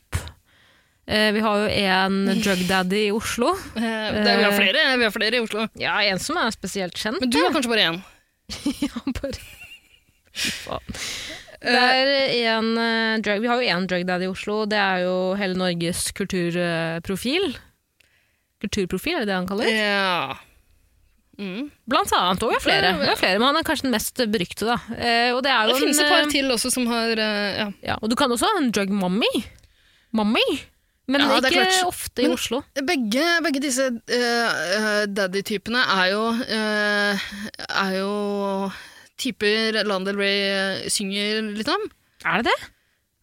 Speaker 2: Eh, vi har jo en drug daddy i Oslo.
Speaker 3: Eh, det, vi, har flere, vi har flere i Oslo.
Speaker 2: Ja, en som er spesielt kjent.
Speaker 3: Men du har kanskje bare én.
Speaker 2: ja, bare... Fy faen.
Speaker 3: Eh.
Speaker 2: Det er en eh, drug... Vi har jo én drug daddy i Oslo. Det er jo hele Norges kulturprofil. Kulturprofil, er det det han
Speaker 3: Eh.
Speaker 2: kaller?
Speaker 3: Ja. Mm.
Speaker 2: Blant annet. Og vi har flere. Vi har flere men han er kanskje den mest berykte, da. Eh, og det er
Speaker 3: Det
Speaker 2: jo en,
Speaker 3: finnes et par
Speaker 2: eh,
Speaker 3: til også som har eh, ja.
Speaker 2: Ja, og du kan også ha en drug mommy. Mommy. Men
Speaker 3: Ja, det er
Speaker 2: ikke
Speaker 3: klart.
Speaker 2: ofte i
Speaker 3: Men-
Speaker 2: Oslo.
Speaker 3: Begge, begge disse eh, eh, daddy-typene er jo eh, Er jo typer Landel Ray eh, synger litt om.
Speaker 2: Er det det?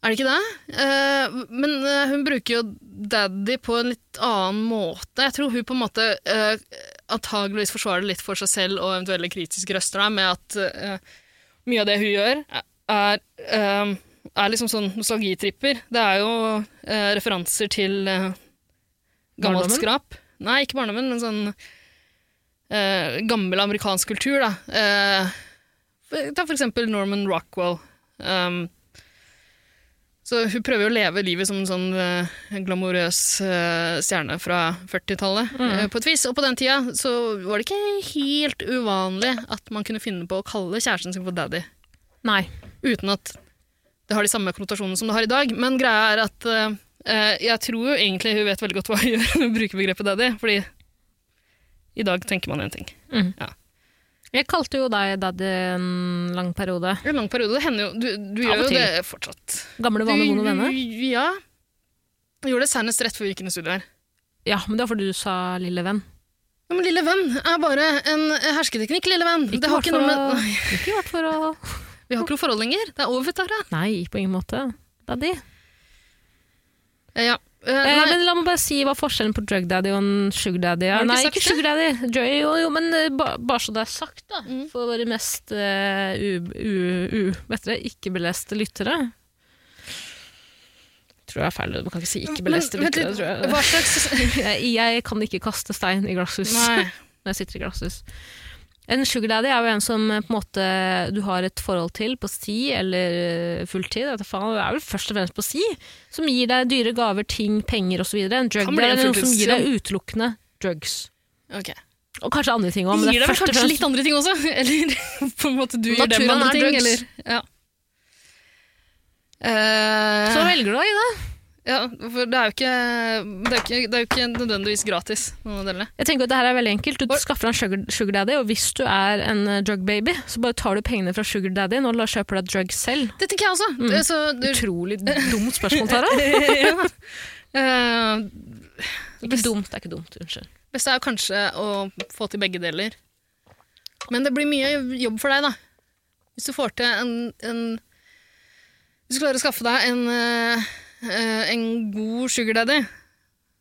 Speaker 3: Er det ikke det? Eh, men eh, hun bruker jo daddy på en litt annen måte. Jeg tror hun på en måte eh, antageligvis forsvarer det litt for seg selv og eventuelle kritiske røster der, med at eh, mye av det hun gjør, er, eh, er liksom sånn nostalgitripper. Det er jo eh, referanser til eh, gammelt
Speaker 2: Barndommen?
Speaker 3: skrap. Nei, ikke barndommen, men sånn eh, gammel amerikansk kultur, da. Eh, for- ta for eksempel Norman Rockwell. Um, så hun prøver jo å leve livet som en sånn eh, en glamorøs eh, stjerne fra 40-tallet,
Speaker 2: Mm.
Speaker 3: eh, på et vis. Og på den tida så var det ikke helt uvanlig at man kunne finne på å kalle kjæresten sin for daddy,
Speaker 2: Nei.
Speaker 3: uten at det har de samme konnotasjonene som det har i dag. Men greia er at eh, eh, jeg tror jo egentlig hun vet veldig godt hva hun gjør når hun bruker begrepet daddy, fordi i dag tenker man én ting.
Speaker 2: Jeg kalte jo deg daddy en lang periode.
Speaker 3: I en lang periode, det hender jo Du, du
Speaker 2: Av og
Speaker 3: gjør jo
Speaker 2: til.
Speaker 3: det fortsatt.
Speaker 2: Gamle vaner, vonde venner.
Speaker 3: Ja. Jeg gjorde det senest rett før vi gikk inn i studio her.
Speaker 2: Ja, men det var fordi du sa lille venn.
Speaker 3: Ja, men lille venn er bare en hersketeknikk, lille venn. det har
Speaker 2: vært
Speaker 3: ikke
Speaker 2: for
Speaker 3: noe med...
Speaker 2: å-
Speaker 3: Nei,
Speaker 2: Ikke vært for å
Speaker 3: vi har ikke noe forhold lenger. Det er over, Tara.
Speaker 2: Nei, på ingen måte. Daddy.
Speaker 3: Eh, Ja. Eh,
Speaker 2: Eh,
Speaker 3: nei,
Speaker 2: men la meg bare si hva forskjellen på drug daddy og en sugar daddy er.
Speaker 3: Har du ikke
Speaker 2: Nei,
Speaker 3: sagt
Speaker 2: ikke
Speaker 3: det? Mm.
Speaker 2: sugar daddy. Jo, jo, jo, men eh, ba, bare så det er sagt, da. For våre mest eh, u, u, u, vet dere, ikke-beleste lyttere. Tror jeg er feil. Du kan ikke si ikke-beleste
Speaker 3: men- vent
Speaker 2: lyttere.
Speaker 3: litt.
Speaker 2: Tror jeg.
Speaker 3: Hva slags
Speaker 2: Jeg, jeg kan ikke kaste stein i glasshus
Speaker 3: Nei.
Speaker 2: når jeg sitter i glasshus. En sugar daddy er jo en som eh, på en måte, du har et forhold til på sti eller eh, fulltid. jeg vet da faen, Det er vel først og fremst på sti, som gir deg dyre gaver, ting, penger osv. En drug
Speaker 3: Kan bli
Speaker 2: daddy er
Speaker 3: en
Speaker 2: noen som gir deg utelukkende drugs.
Speaker 3: Ok.
Speaker 2: Og kanskje andre ting òg,
Speaker 3: Gir
Speaker 2: men det
Speaker 3: det
Speaker 2: er
Speaker 3: vel
Speaker 2: først og
Speaker 3: kanskje litt
Speaker 2: fremst
Speaker 3: andre ting også? Eller på en måte du gjør dem
Speaker 2: Naturen
Speaker 3: andre
Speaker 2: er
Speaker 3: ting?
Speaker 2: drugs.
Speaker 3: Eller? Ja. Eh,
Speaker 2: Så velger du deg, Ida.
Speaker 3: Ja, for det er jo ikke, det er jo ikke, det er jo ikke nødvendigvis gratis, noen av delene.
Speaker 2: Jeg tenker at det her er veldig enkelt. Du skaffer deg en sugar, sugar daddy, og hvis du er en eh, drug baby, så bare tar du pengene fra sugar daddyen og lar- kjøper deg drugs selv.
Speaker 3: Det tenker jeg også. Det, så, du,
Speaker 2: Utrolig dumt spørsmål, Tara.
Speaker 3: ja. Eh,
Speaker 2: Ikke dumt, det er ikke dumt. Unnskyld.
Speaker 3: beste er kanskje å få til begge deler. Men det blir mye jobb for deg, da. Hvis du får til en, en Hvis du klarer å skaffe deg en, eh, eh, en god sugar daddy,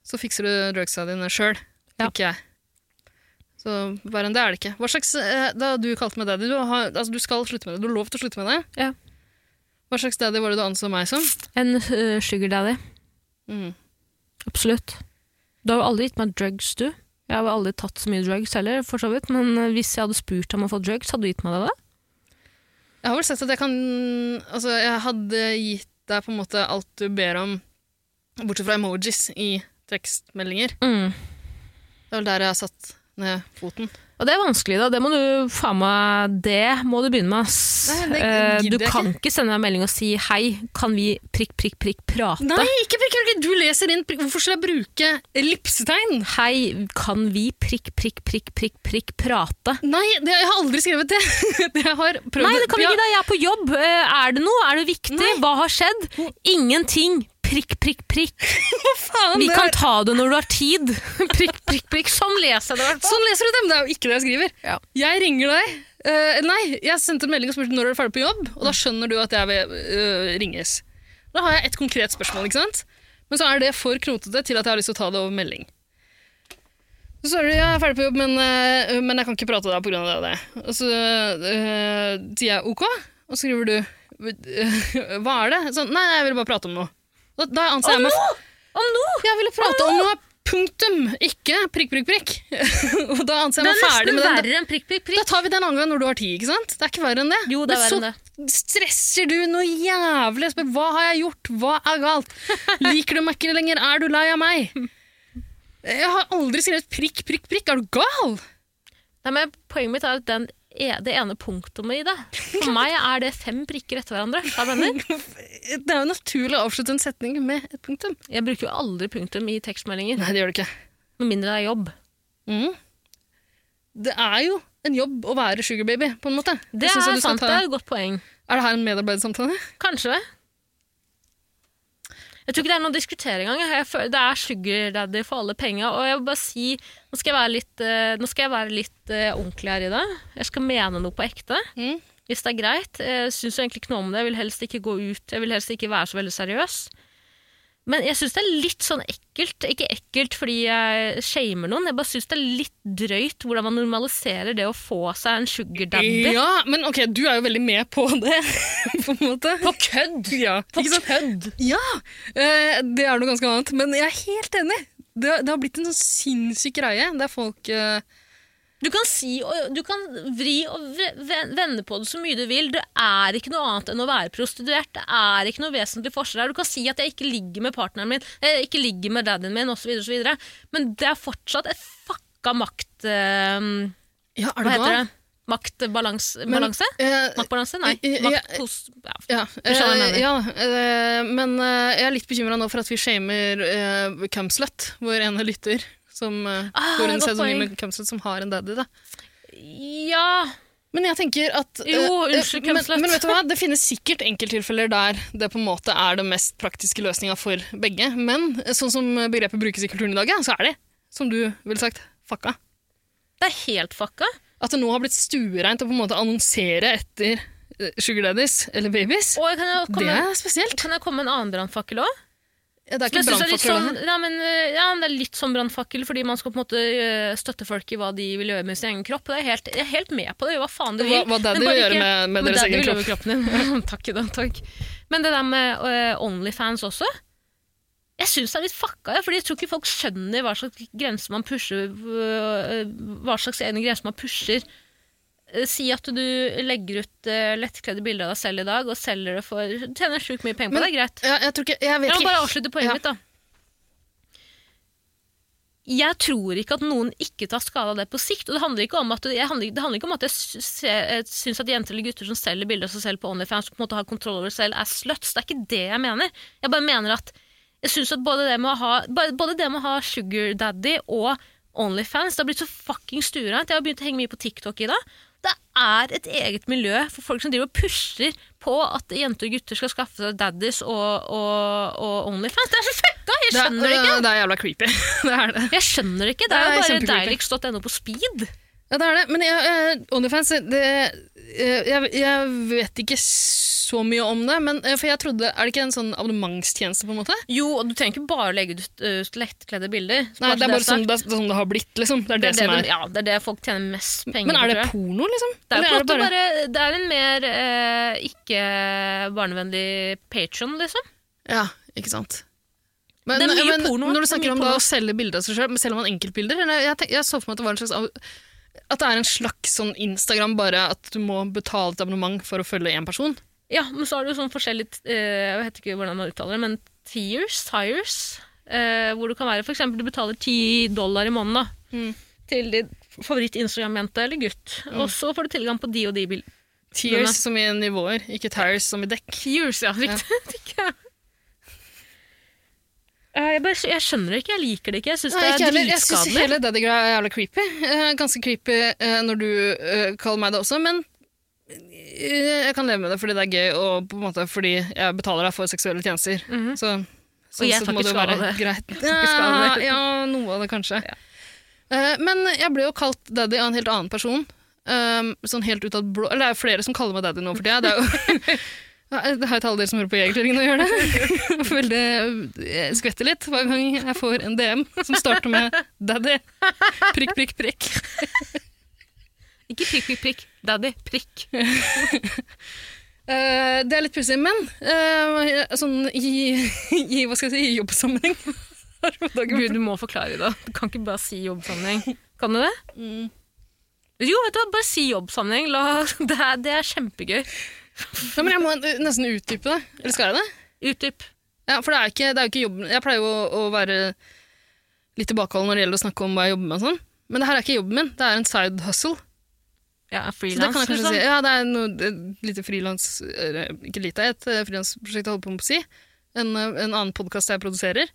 Speaker 3: så fikser du drugsa dine sjøl,
Speaker 2: Ja.
Speaker 3: tenker jeg. Så verre enn det er det ikke. Hva slags, eh, da du kalte meg daddy, du, har, altså, du skal slutte med det. Du har lov til å slutte med det.
Speaker 2: Ja.
Speaker 3: Hva slags daddy var det du anså meg som?
Speaker 2: En eh, sugar daddy.
Speaker 3: Mm.
Speaker 2: Absolutt. Du har jo aldri gitt meg drugs, du. Jeg har jo aldri tatt så mye drugs heller, for så vidt. Men eh, hvis jeg hadde spurt om å få drugs, hadde du gitt meg det? da?
Speaker 3: Jeg har vel sett at jeg kan Altså, jeg hadde gitt deg på en måte alt du ber om, bortsett fra emojis i tekstmeldinger. Det er vel der jeg har satt ned foten.
Speaker 2: Og det er vanskelig, da. Det må du faen meg Det må du begynne med, ass.
Speaker 3: Nei, det
Speaker 2: Eh,
Speaker 3: gidder
Speaker 2: du
Speaker 3: jeg
Speaker 2: kan ikke sende meg en melding og si 'hei, kan vi prikk, prikk, prikk prate'?
Speaker 3: Nei, ikke prikk, prikk! Du leser inn prikk. Hvorfor skal jeg bruke ellipsetegn?
Speaker 2: Hei, kan vi prikk, prikk, prikk, prikk, prikk prate?
Speaker 3: Nei, det, jeg har aldri skrevet det. det jeg har prøvd
Speaker 2: Nei, det kan vi
Speaker 3: Ja,
Speaker 2: ikke, da! Jeg er på jobb! Eh, Er det noe? Er det viktig? Hva har skjedd? Ingenting! Prikk, prikk, prikk.
Speaker 3: Faen,
Speaker 2: Vi
Speaker 3: det
Speaker 2: kan
Speaker 3: er-
Speaker 2: ta det når du har tid. Prikk, prikk, prikk. Sånn leser jeg det i hvert fall.
Speaker 3: Sånn leser du det, men det er jo ikke det jeg skriver.
Speaker 2: Ja.
Speaker 3: Jeg ringer deg. Eh, nei, jeg sendte en melding og spurte når er du ferdig på jobb, og da skjønner du at jeg vil eh, ringes. Da har jeg et konkret spørsmål, ikke sant? Men så er det for knotete til at jeg har lyst til å ta det over melding. Så svarer du ja, jeg er ferdig på jobb, men, eh, men jeg kan ikke prate med deg pga. det og det. Og så eh, sier jeg ok, og så skriver du eh, hva er det? Sånn, nei, jeg ville bare prate om noe. Da, da anser jeg meg
Speaker 2: Om noe!
Speaker 3: jeg ville prate om noe, punktum, ikke prikk, prikk, prikk. og da anser
Speaker 2: Det er
Speaker 3: jeg meg ferdig
Speaker 2: nesten
Speaker 3: med den.
Speaker 2: verre enn prikk, prikk,
Speaker 3: Da
Speaker 2: prikk.
Speaker 3: tar vi den annen gang når du har tid, ikke sant? Det er ikke verre enn det.
Speaker 2: Jo, det er verre enn det.
Speaker 3: Men så stresser du noe jævlig. Spør, hva har jeg gjort? Hva er galt? Liker du meg ikke lenger? Er du lei av meg? Jeg har aldri skrevet prikk, prikk, prikk. Er du gal?
Speaker 2: Nei, men Poenget mitt er at den, e- det ene punktumet i det For meg er det fem prikker etter hverandre. Jeg, mener.
Speaker 3: Det er jo naturlig å avslutte en setning med et punktum.
Speaker 2: jeg bruker jo aldri punktum i tekstmeldinger,
Speaker 3: Nei, det gjør det ikke.
Speaker 2: med mindre det er jobb.
Speaker 3: Mm. Det er jo en jobb å være sugarbaby, på en måte.
Speaker 2: Det
Speaker 3: Jeg synes at
Speaker 2: er
Speaker 3: du skal
Speaker 2: sant,
Speaker 3: ta-
Speaker 2: det er et godt poeng.
Speaker 3: Er det her en medarbeidersamtale?
Speaker 2: Kanskje. Jeg tror ikke det er noe å diskutere engang. jeg. Jeg føler- Det er sugar daddy for alle penger. Og jeg vil bare si, nå skal jeg være litt, eh, nå skal jeg være litt eh, ordentlig her i dag. Jeg skal mene noe på ekte.
Speaker 3: Mm.
Speaker 2: Hvis det er greit. Jeg syns egentlig ikke noe om det. Jeg vil helst ikke gå ut. Jeg vil helst ikke være så veldig seriøs. Men jeg syns det er litt sånn ekkelt. Ikke ekkelt fordi jeg shamer noen. Jeg bare syns det er litt drøyt hvordan man normaliserer det å få seg en sugar daddy.
Speaker 3: Ja, men ok, du er jo veldig med på det, på en måte. På kødd! Ja, ikke sant?
Speaker 2: kødd!
Speaker 3: Ja, eh, det er noe ganske annet. Men jeg er helt enig. Det, det har blitt en sånn sinnssyk greie der folk eh,
Speaker 2: Du kan, si, og du kan vri og vre- ven- vende på det så mye du vil. Det er ikke noe annet enn å være prostituert. Det er ikke noe vesentlig forskjell her. Du kan si at jeg ikke ligger med partneren min, eh, ikke ligger med daddyen min, osv., osv. Men det er fortsatt et fucka makt... Eh,
Speaker 3: Ja, er
Speaker 2: hva
Speaker 3: du
Speaker 2: heter
Speaker 3: gal?
Speaker 2: det? Maktbalanse?
Speaker 3: Men,
Speaker 2: Balanse?
Speaker 3: eh,
Speaker 2: Maktbalanse? Nei.
Speaker 3: eh, eh,
Speaker 2: Makt
Speaker 3: jeg-
Speaker 2: hos ja.
Speaker 3: Ja,
Speaker 2: skjønner hva jeg
Speaker 3: eh, ja eh, men eh, jeg er litt bekymra nå for at vi shamer eh, Cumslut, vår ene lytter, som eh,
Speaker 2: Ah,
Speaker 3: går under
Speaker 2: godt
Speaker 3: pseudonymet Cumslut, som har en daddy, da.
Speaker 2: ja.
Speaker 3: Men jeg tenker at
Speaker 2: Jo,
Speaker 3: eh, eh,
Speaker 2: unnskyld,
Speaker 3: men,
Speaker 2: Kemslett.
Speaker 3: men vet du hva? Det finnes sikkert enkelttilfeller der det på en måte er den mest praktiske løsninga for begge. Men eh, sånn som begrepet brukes i kulturen i dag, ja, så er det, som du ville sagt, fucka.
Speaker 2: Det er helt fucka.
Speaker 3: At det nå har blitt stuereint å på en måte annonsere etter eh, sugar daddies eller babies,
Speaker 2: Og jeg kan, jo
Speaker 3: det
Speaker 2: komme,
Speaker 3: er spesielt.
Speaker 2: kan jeg komme med en annen brannfakkel òg?
Speaker 3: Ja, Det
Speaker 2: Men
Speaker 3: er ikke
Speaker 2: jeg synes det er litt
Speaker 3: brannfakkel.
Speaker 2: sånn,
Speaker 3: det her.
Speaker 2: ja, men, øh, ja, men det er litt sånn brannfakkel, fordi man skal på en måte øh, støtte folk i hva de vil gjøre med sin egen kropp. Det er helt, jeg er helt med på det, hva faen de
Speaker 3: Hva,
Speaker 2: vil.
Speaker 3: hva daddy
Speaker 2: men bare
Speaker 3: vil gjøre
Speaker 2: ikke-
Speaker 3: med, med
Speaker 2: Hva
Speaker 3: deres
Speaker 2: daddy
Speaker 3: egen
Speaker 2: vil gjøre
Speaker 3: kropp.
Speaker 2: med kroppen din. takk, Ida, takk. Men det der med øh, Onlyfans også, jeg syns det er litt fucka, ja, fordi jeg tror ikke folk skjønner hva slags grenser man pusher, øh, hva slags egne grenser man pusher. Eh, Si at du legger ut øh, lettkledde bilder av deg selv i dag og selger det for Tjener sjukt mye penger på
Speaker 3: Men-
Speaker 2: det, det er greit.
Speaker 3: Ja, jeg tror ikke, jeg vet
Speaker 2: Jeg må
Speaker 3: ikke.
Speaker 2: bare avslutte poenget
Speaker 3: Ja.
Speaker 2: mitt, da. Jeg tror ikke at noen ikke tar skade av det på sikt. Og det handler ikke om at jeg, handler, det handler ikke om at jeg sy- se- eh, syns at jenter eller gutter som selger bilder av seg selv på Onlyfans, på en måte har kontroll over seg selv, er sluts. Det er ikke det jeg mener. Jeg bare mener at Jeg synes at både det med å ha, ba- både det med å ha Sugar Daddy og Onlyfans Det har blitt så fucking stuereint. Jeg har begynt å henge mye på TikTok i dag. Det er et eget miljø for folk som driver og pusher på at jenter og gutter skal skaffe seg daddies og, og, og Onlyfans. Det er så fucka! Jeg
Speaker 3: Det er,
Speaker 2: skjønner det ikke.
Speaker 3: det er jævla creepy. det er det.
Speaker 2: Jeg skjønner det ikke. Det
Speaker 3: Det
Speaker 2: er
Speaker 3: er
Speaker 2: jo bare
Speaker 3: kjempecreepy.
Speaker 2: deiligst.no på speed.
Speaker 3: Ja, det er det. Men jeg, jeg, Onlyfans det, jeg, jeg- jeg vet ikke så mye om det. Men, eh, for jeg trodde, Er det ikke en sånn abonnementstjeneste, på en måte?
Speaker 2: Jo, og du trenger ikke bare legge ut eh, lettkledde bilder.
Speaker 3: Nei, det er bare
Speaker 2: sagt.
Speaker 3: sånn det, er sånn det har blitt, liksom. Det er
Speaker 2: Det
Speaker 3: det,
Speaker 2: er
Speaker 3: som
Speaker 2: det,
Speaker 3: er.
Speaker 2: ja, det er det folk tjener mest penger
Speaker 3: Men er
Speaker 2: på.
Speaker 3: det
Speaker 2: tror jeg.
Speaker 3: porno, liksom?
Speaker 2: Det er,
Speaker 3: Eller
Speaker 2: på en måte bare, det er en mer eh, ikke barnevennlig patron, liksom.
Speaker 3: Ja, ikke sant. Men, eh,
Speaker 2: Det er mye
Speaker 3: men
Speaker 2: porno,
Speaker 3: når du
Speaker 2: det er
Speaker 3: snakker
Speaker 2: mye
Speaker 3: om da,
Speaker 2: porno.
Speaker 3: å selge bilder av seg selv, selger man enkeltbilder? Eller jeg, tenk, jeg så for meg at det var en slags av- at det er en slags sånn Instagram, bare at du må betale et abonnement for å følge én person.
Speaker 2: Ja, men så har du sånn forskjellig eh, Jeg vet ikke hvordan man uttaler det, men tiers, tires. eh, hvor du kan være f.eks. du betaler 10 dollar i måneden da, til din favoritt-Instagram-jente eller gutt. Og så får du tilgang på de og de bildene.
Speaker 3: Tears som i nivåer, ikke tires som i dekk.
Speaker 2: Tears, ja. Riktig. Ja. Eh, jeg, bare, jeg skjønner det ikke. Jeg liker det ikke. Jeg syns det
Speaker 3: Nei, ikke
Speaker 2: er
Speaker 3: heller. Jeg syns
Speaker 2: dritskadelig.
Speaker 3: hele daddy-greia er jævla creepy. Eh, ganske creepy eh, når du eh, kaller meg det også, men eh, jeg kan leve med det fordi det er gøy, og på en måte fordi jeg betaler deg for seksuelle tjenester. Så sånn
Speaker 2: Mhm. jeg
Speaker 3: sett
Speaker 2: tar
Speaker 3: må
Speaker 2: ikke
Speaker 3: det jo
Speaker 2: skade av
Speaker 3: være
Speaker 2: det.
Speaker 3: greit.
Speaker 2: ikke skade
Speaker 3: Ja,
Speaker 2: av det.
Speaker 3: ja, noe av det kanskje. Eh, men jeg ble jo kalt daddy av en helt annen person. Um, sånn helt ut av det blå Eller det er jo flere som kaller meg daddy nå for tida. Det er jo Ja, Det har jo til alle dere som hører på Jegertvillingene å gjøre det. Veldig, eh, jeg skvetter litt hver gang jeg får en DM som starter med 'daddy'. Prikk, prikk, prikk.
Speaker 2: Ikke prikk, prikk, prikk. Daddy, prikk.
Speaker 3: Eh, det er litt pussig, men eh, sånn i, i hva skal jeg si, i jobbsammenheng har jo dagen
Speaker 2: Gud, du må forklare det. Du kan ikke bare si jobbsammenheng. Kan du det?
Speaker 3: Mm.
Speaker 2: Jo, vet du hva, bare si jobbsammenheng. La, det, er, det er kjempegøy.
Speaker 3: Nei, men Jeg må nesten utdype det. Eller skal jeg det?
Speaker 2: Utdyp.
Speaker 3: Ja, for det er, ikke, det er jo ikke jobben Jeg pleier jo å, å være litt tilbakeholden når det gjelder å snakke om hva jeg jobber med. og sånn. Men det her er ikke jobben min, det er en side hustle.
Speaker 2: Ja,
Speaker 3: Så det kan
Speaker 2: frilans,
Speaker 3: jeg kanskje
Speaker 2: liksom.
Speaker 3: si. Ja, det er noe, et lite frilans eller, Ikke lite, et eh, frilansprosjekt jeg holder på med å si. En, eh, en annen podkast jeg produserer.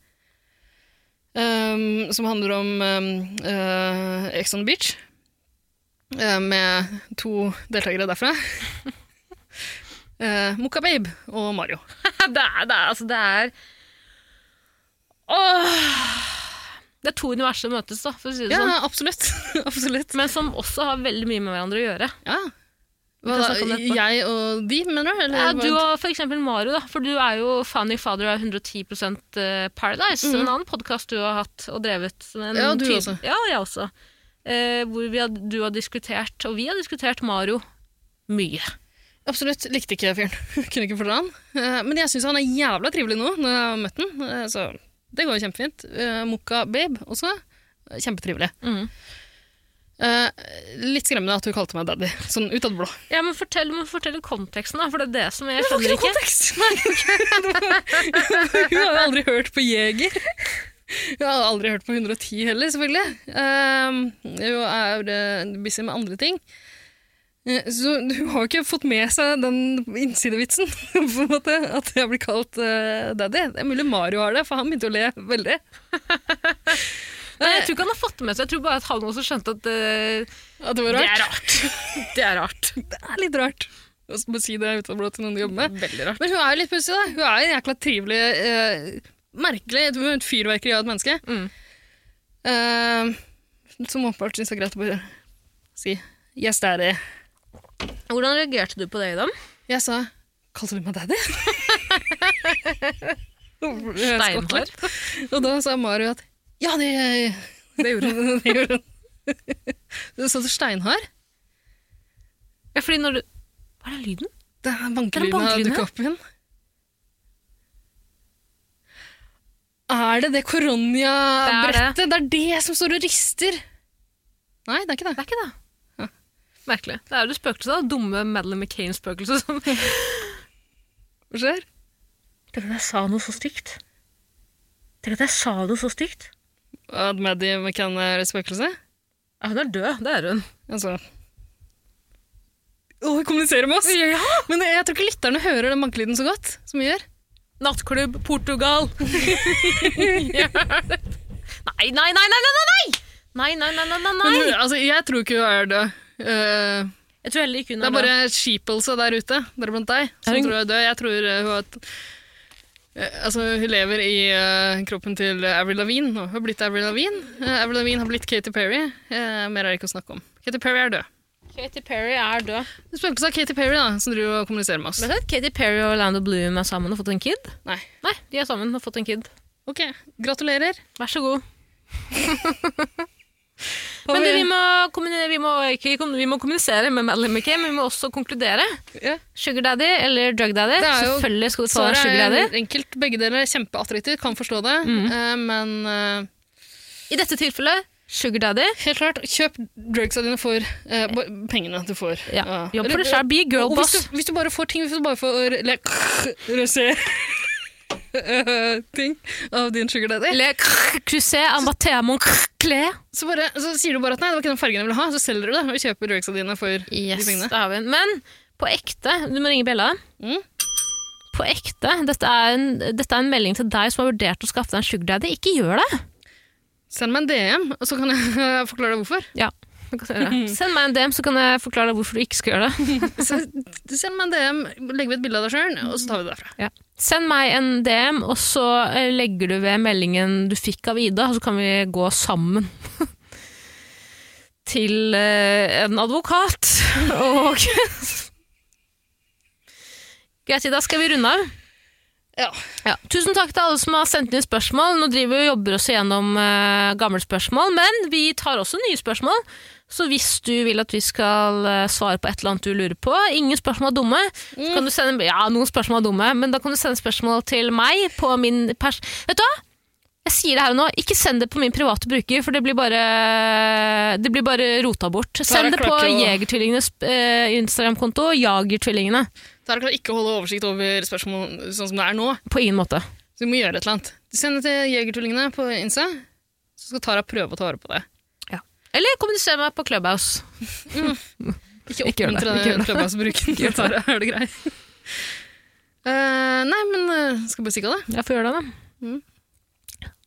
Speaker 3: ehm, som handler om ehm, eh, Ex on the Beach. eh, med to deltakere derfra. uh, Mokka Babe og Mario.
Speaker 2: Det er, det er, altså, det er Åh! Det er to universer som møtes, da, for å si det
Speaker 3: Ja,
Speaker 2: sånn.
Speaker 3: absolutt. absolutt.
Speaker 2: Men som også har veldig mye med hverandre å gjøre.
Speaker 3: Ja. Hva
Speaker 2: kan
Speaker 3: da?
Speaker 2: snakke om det etterpå.
Speaker 3: Jeg og de, mener du? Eller
Speaker 2: Ja,
Speaker 3: hva-
Speaker 2: du og for eksempel Mario, da, for du er jo Funny Father av 110 eh, Paradise, en annen podkast du har hatt og drevet. som en
Speaker 3: Mhm. Ja, du
Speaker 2: tid-
Speaker 3: også.
Speaker 2: Ja, jeg også. Eh, hvor vi har, du har diskutert, og vi har diskutert Mario mye.
Speaker 3: Absolutt. Likte ikke fyren. Kunne ikke fordra han. Eh, Men jeg syns han er jævla trivelig nå, når jeg har møtt han. Eh, Så det går jo kjempefint. Eh, Mokka Babe også. eh, Kjempetrivelig.
Speaker 2: Mhm.
Speaker 3: Eh, Litt skremmende at hun kalte meg daddy, sånn ut av det blå.
Speaker 2: Ja, men fortell, men fortell konteksten, da, for det er det som jeg
Speaker 3: Det
Speaker 2: skjønner
Speaker 3: var
Speaker 2: ikke.
Speaker 3: kontekst! Nei, ok. Hun har jo aldri hørt på Jeger. Hun har aldri hørt på 110 heller, selvfølgelig. Um, hun er eh, busy med andre ting. Eh, Så hun har jo ikke fått med seg den innsidevitsen, på en måte, at jeg blir kalt eh, daddy. Det er mulig Mario har det, for han begynte å le veldig. Eh,
Speaker 2: Nei, jeg tror ikke han har fått det med seg, jeg tror bare at han også skjønte at eh,
Speaker 3: At det var
Speaker 2: det
Speaker 3: rart.
Speaker 2: er rart. Det er rart.
Speaker 3: Det er litt rart å s- bare si det ut av det blå til noen du jobber med. Men hun er jo litt pussig, da. Hun er en jækla trivelig, eh, merkelig Hun er et fyrverkeri av et menneske.
Speaker 2: Mm.
Speaker 3: Eh, som åpenbart syns det er greit å bare si 'yes, daddy'.
Speaker 2: Hvordan reagerte du på det, Idam?
Speaker 3: Jeg sa 'kalte du meg daddy'? Og ble jeg skvatt
Speaker 2: Steinhard.
Speaker 3: litt. Og da sa Mario at 'ja, det, det gjorde hun'. det gjorde hun. Så du steinhard?
Speaker 2: Ja, fordi når du Hva er den lyden?
Speaker 3: Det er bankelyden har
Speaker 2: bankelyden,
Speaker 3: dukket opp igjen. Er det det Coronia-brettet? Det, er det som står og rister. Nei, det er ikke
Speaker 2: Det
Speaker 3: det.
Speaker 2: er ikke det. Merkelig. Det er jo det spøkelset, da. Dumme Madeleine McCain-spøkelset som
Speaker 3: Hva skjer?
Speaker 2: Tenk at jeg sa noe så stygt. Tenk at jeg sa noe så stygt.
Speaker 3: Ad Maddy McCann er et spøkelse?
Speaker 2: Ja, hun er død, det er hun.
Speaker 3: Altså Å, hun kommuniserer med oss! Men jeg tror ikke lytterne hører den bankelyden så godt som vi gjør.
Speaker 2: Nattklubb, Portugal. nei, nei, nei, nei, nei, nei, nei! Nei, nei, nei, nei, nei,
Speaker 3: Men,
Speaker 2: nei.
Speaker 3: altså, jeg tror ikke hun er død. Eh,
Speaker 2: Jeg tror heller ikke hun
Speaker 3: det
Speaker 2: er
Speaker 3: er
Speaker 2: død.
Speaker 3: bare sheepelse der ute, der blant deg, som
Speaker 2: Er hun-
Speaker 3: tror hun er død. Jeg tror eh, hun har et eh, Altså, hun lever i eh, kroppen til eh, Avril Lavigne nå. Hun har blitt Avril Lavigne. Eh, Avril Lavigne har blitt Katy Perry. Eh, mer er det ikke å snakke om. Katy Perry er død.
Speaker 2: Katy Perry er død.
Speaker 3: Du spøkelse av Katy Perry, da, som driver og kommuniserer med oss.
Speaker 2: Men vet du, at Katy Perry og Orlando Bloom er sammen og har fått en kid?
Speaker 3: Nei.
Speaker 2: Nei, de er sammen og har fått en kid.
Speaker 3: Ok, gratulerer.
Speaker 2: Vær så god. Men du, vi må, kommuni- vi, må, ikke, kom- vi må kommunisere med Madeleine McKay, men vi må også konkludere.
Speaker 3: Ja.
Speaker 2: Sugar daddy eller drug daddy?
Speaker 3: Det er jo-
Speaker 2: Selvfølgelig skal du ta
Speaker 3: Svaret
Speaker 2: sugar daddy.
Speaker 3: er enkelt. Begge deler er kjempeattraktivt, kan forstå det.
Speaker 2: Mm.
Speaker 3: Eh, men eh,
Speaker 2: I dette tilfellet sugar daddy.
Speaker 3: helt klart, kjøp drugsa dine for eh, ba- pengene du får.
Speaker 2: Ja.
Speaker 3: Ja.
Speaker 2: Jobb for
Speaker 3: Eller-
Speaker 2: deg selv, be a girl
Speaker 3: Og
Speaker 2: boss.
Speaker 3: Hvis du, hvis du bare får ting, hvis du bare får eh, le, rosé eh, ting av din sugar daddy,
Speaker 2: Eller crusé ambatémon clé.
Speaker 3: så, bare, så sier du bare at nei, det var ikke den fargen jeg ville ha, så selger du det og kjøper drugsa dine for de
Speaker 2: Yes,
Speaker 3: pengene.
Speaker 2: det har vi den. Men på ekte, du må ringe Bella.
Speaker 3: Mm.
Speaker 2: På ekte, dette er, en, dette er en melding til deg som har vurdert å skaffe deg en sugar daddy. Ikke gjør det!
Speaker 3: Send meg en DM, og så kan jeg forklare deg hvorfor.
Speaker 2: Ja, du kan gjøre det. Send meg en DM, så kan jeg forklare deg hvorfor du ikke skal gjøre det.
Speaker 3: Så, send meg en DM, legg ved et bilde av deg sjøl, og så tar vi det derfra.
Speaker 2: Ja. Send meg en DM, og så eh, legger du ved meldingen du fikk av Ida, og så kan vi gå sammen. Til eh, en advokat. Og Greit, Ida, skal vi runde av?
Speaker 3: Ja.
Speaker 2: Ja. Tusen takk til alle som har sendt inn spørsmål. Nå driver vi og jobber oss gjennom eh, gamle spørsmål, men vi tar også nye spørsmål. Så hvis du vil at vi skal eh, svare på et eller annet du lurer på Ingen spørsmål er dumme. Så kan du sende, ja, noen spørsmål er dumme, men da kan du sende spørsmål til meg på min pers... Vet du hva? Jeg sier det her og nå, ikke send det på min private bruker, for det blir bare, det blir bare rota bort. Send det på
Speaker 3: klart å-
Speaker 2: Jegertvillingenes eh, Instagram-konto, Jagertvillingene.
Speaker 3: Tara klarer ikke å holde oversikt over spørsmål sånn som det er nå.
Speaker 2: På ingen måte.
Speaker 3: Så vi må gjøre et eller annet. Send det til Jegertvillingene på Insta, så skal Tara prøve å ta vare på det.
Speaker 2: Eller kommuniser med meg på Clubhouse.
Speaker 3: Ikke
Speaker 2: Ikke gjør det, ikke
Speaker 3: oppmuntre
Speaker 2: gjør
Speaker 3: den
Speaker 2: det.
Speaker 3: klubbehavsbruken til Tara, er det grei? Eh, nei, men eh, skal vi bare stikke av, da?
Speaker 2: Jeg får gjøre det, da.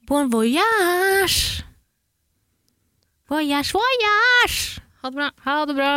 Speaker 2: Bon voyage! Voyage, voyage!
Speaker 3: Ha det bra.
Speaker 2: Ha det bra.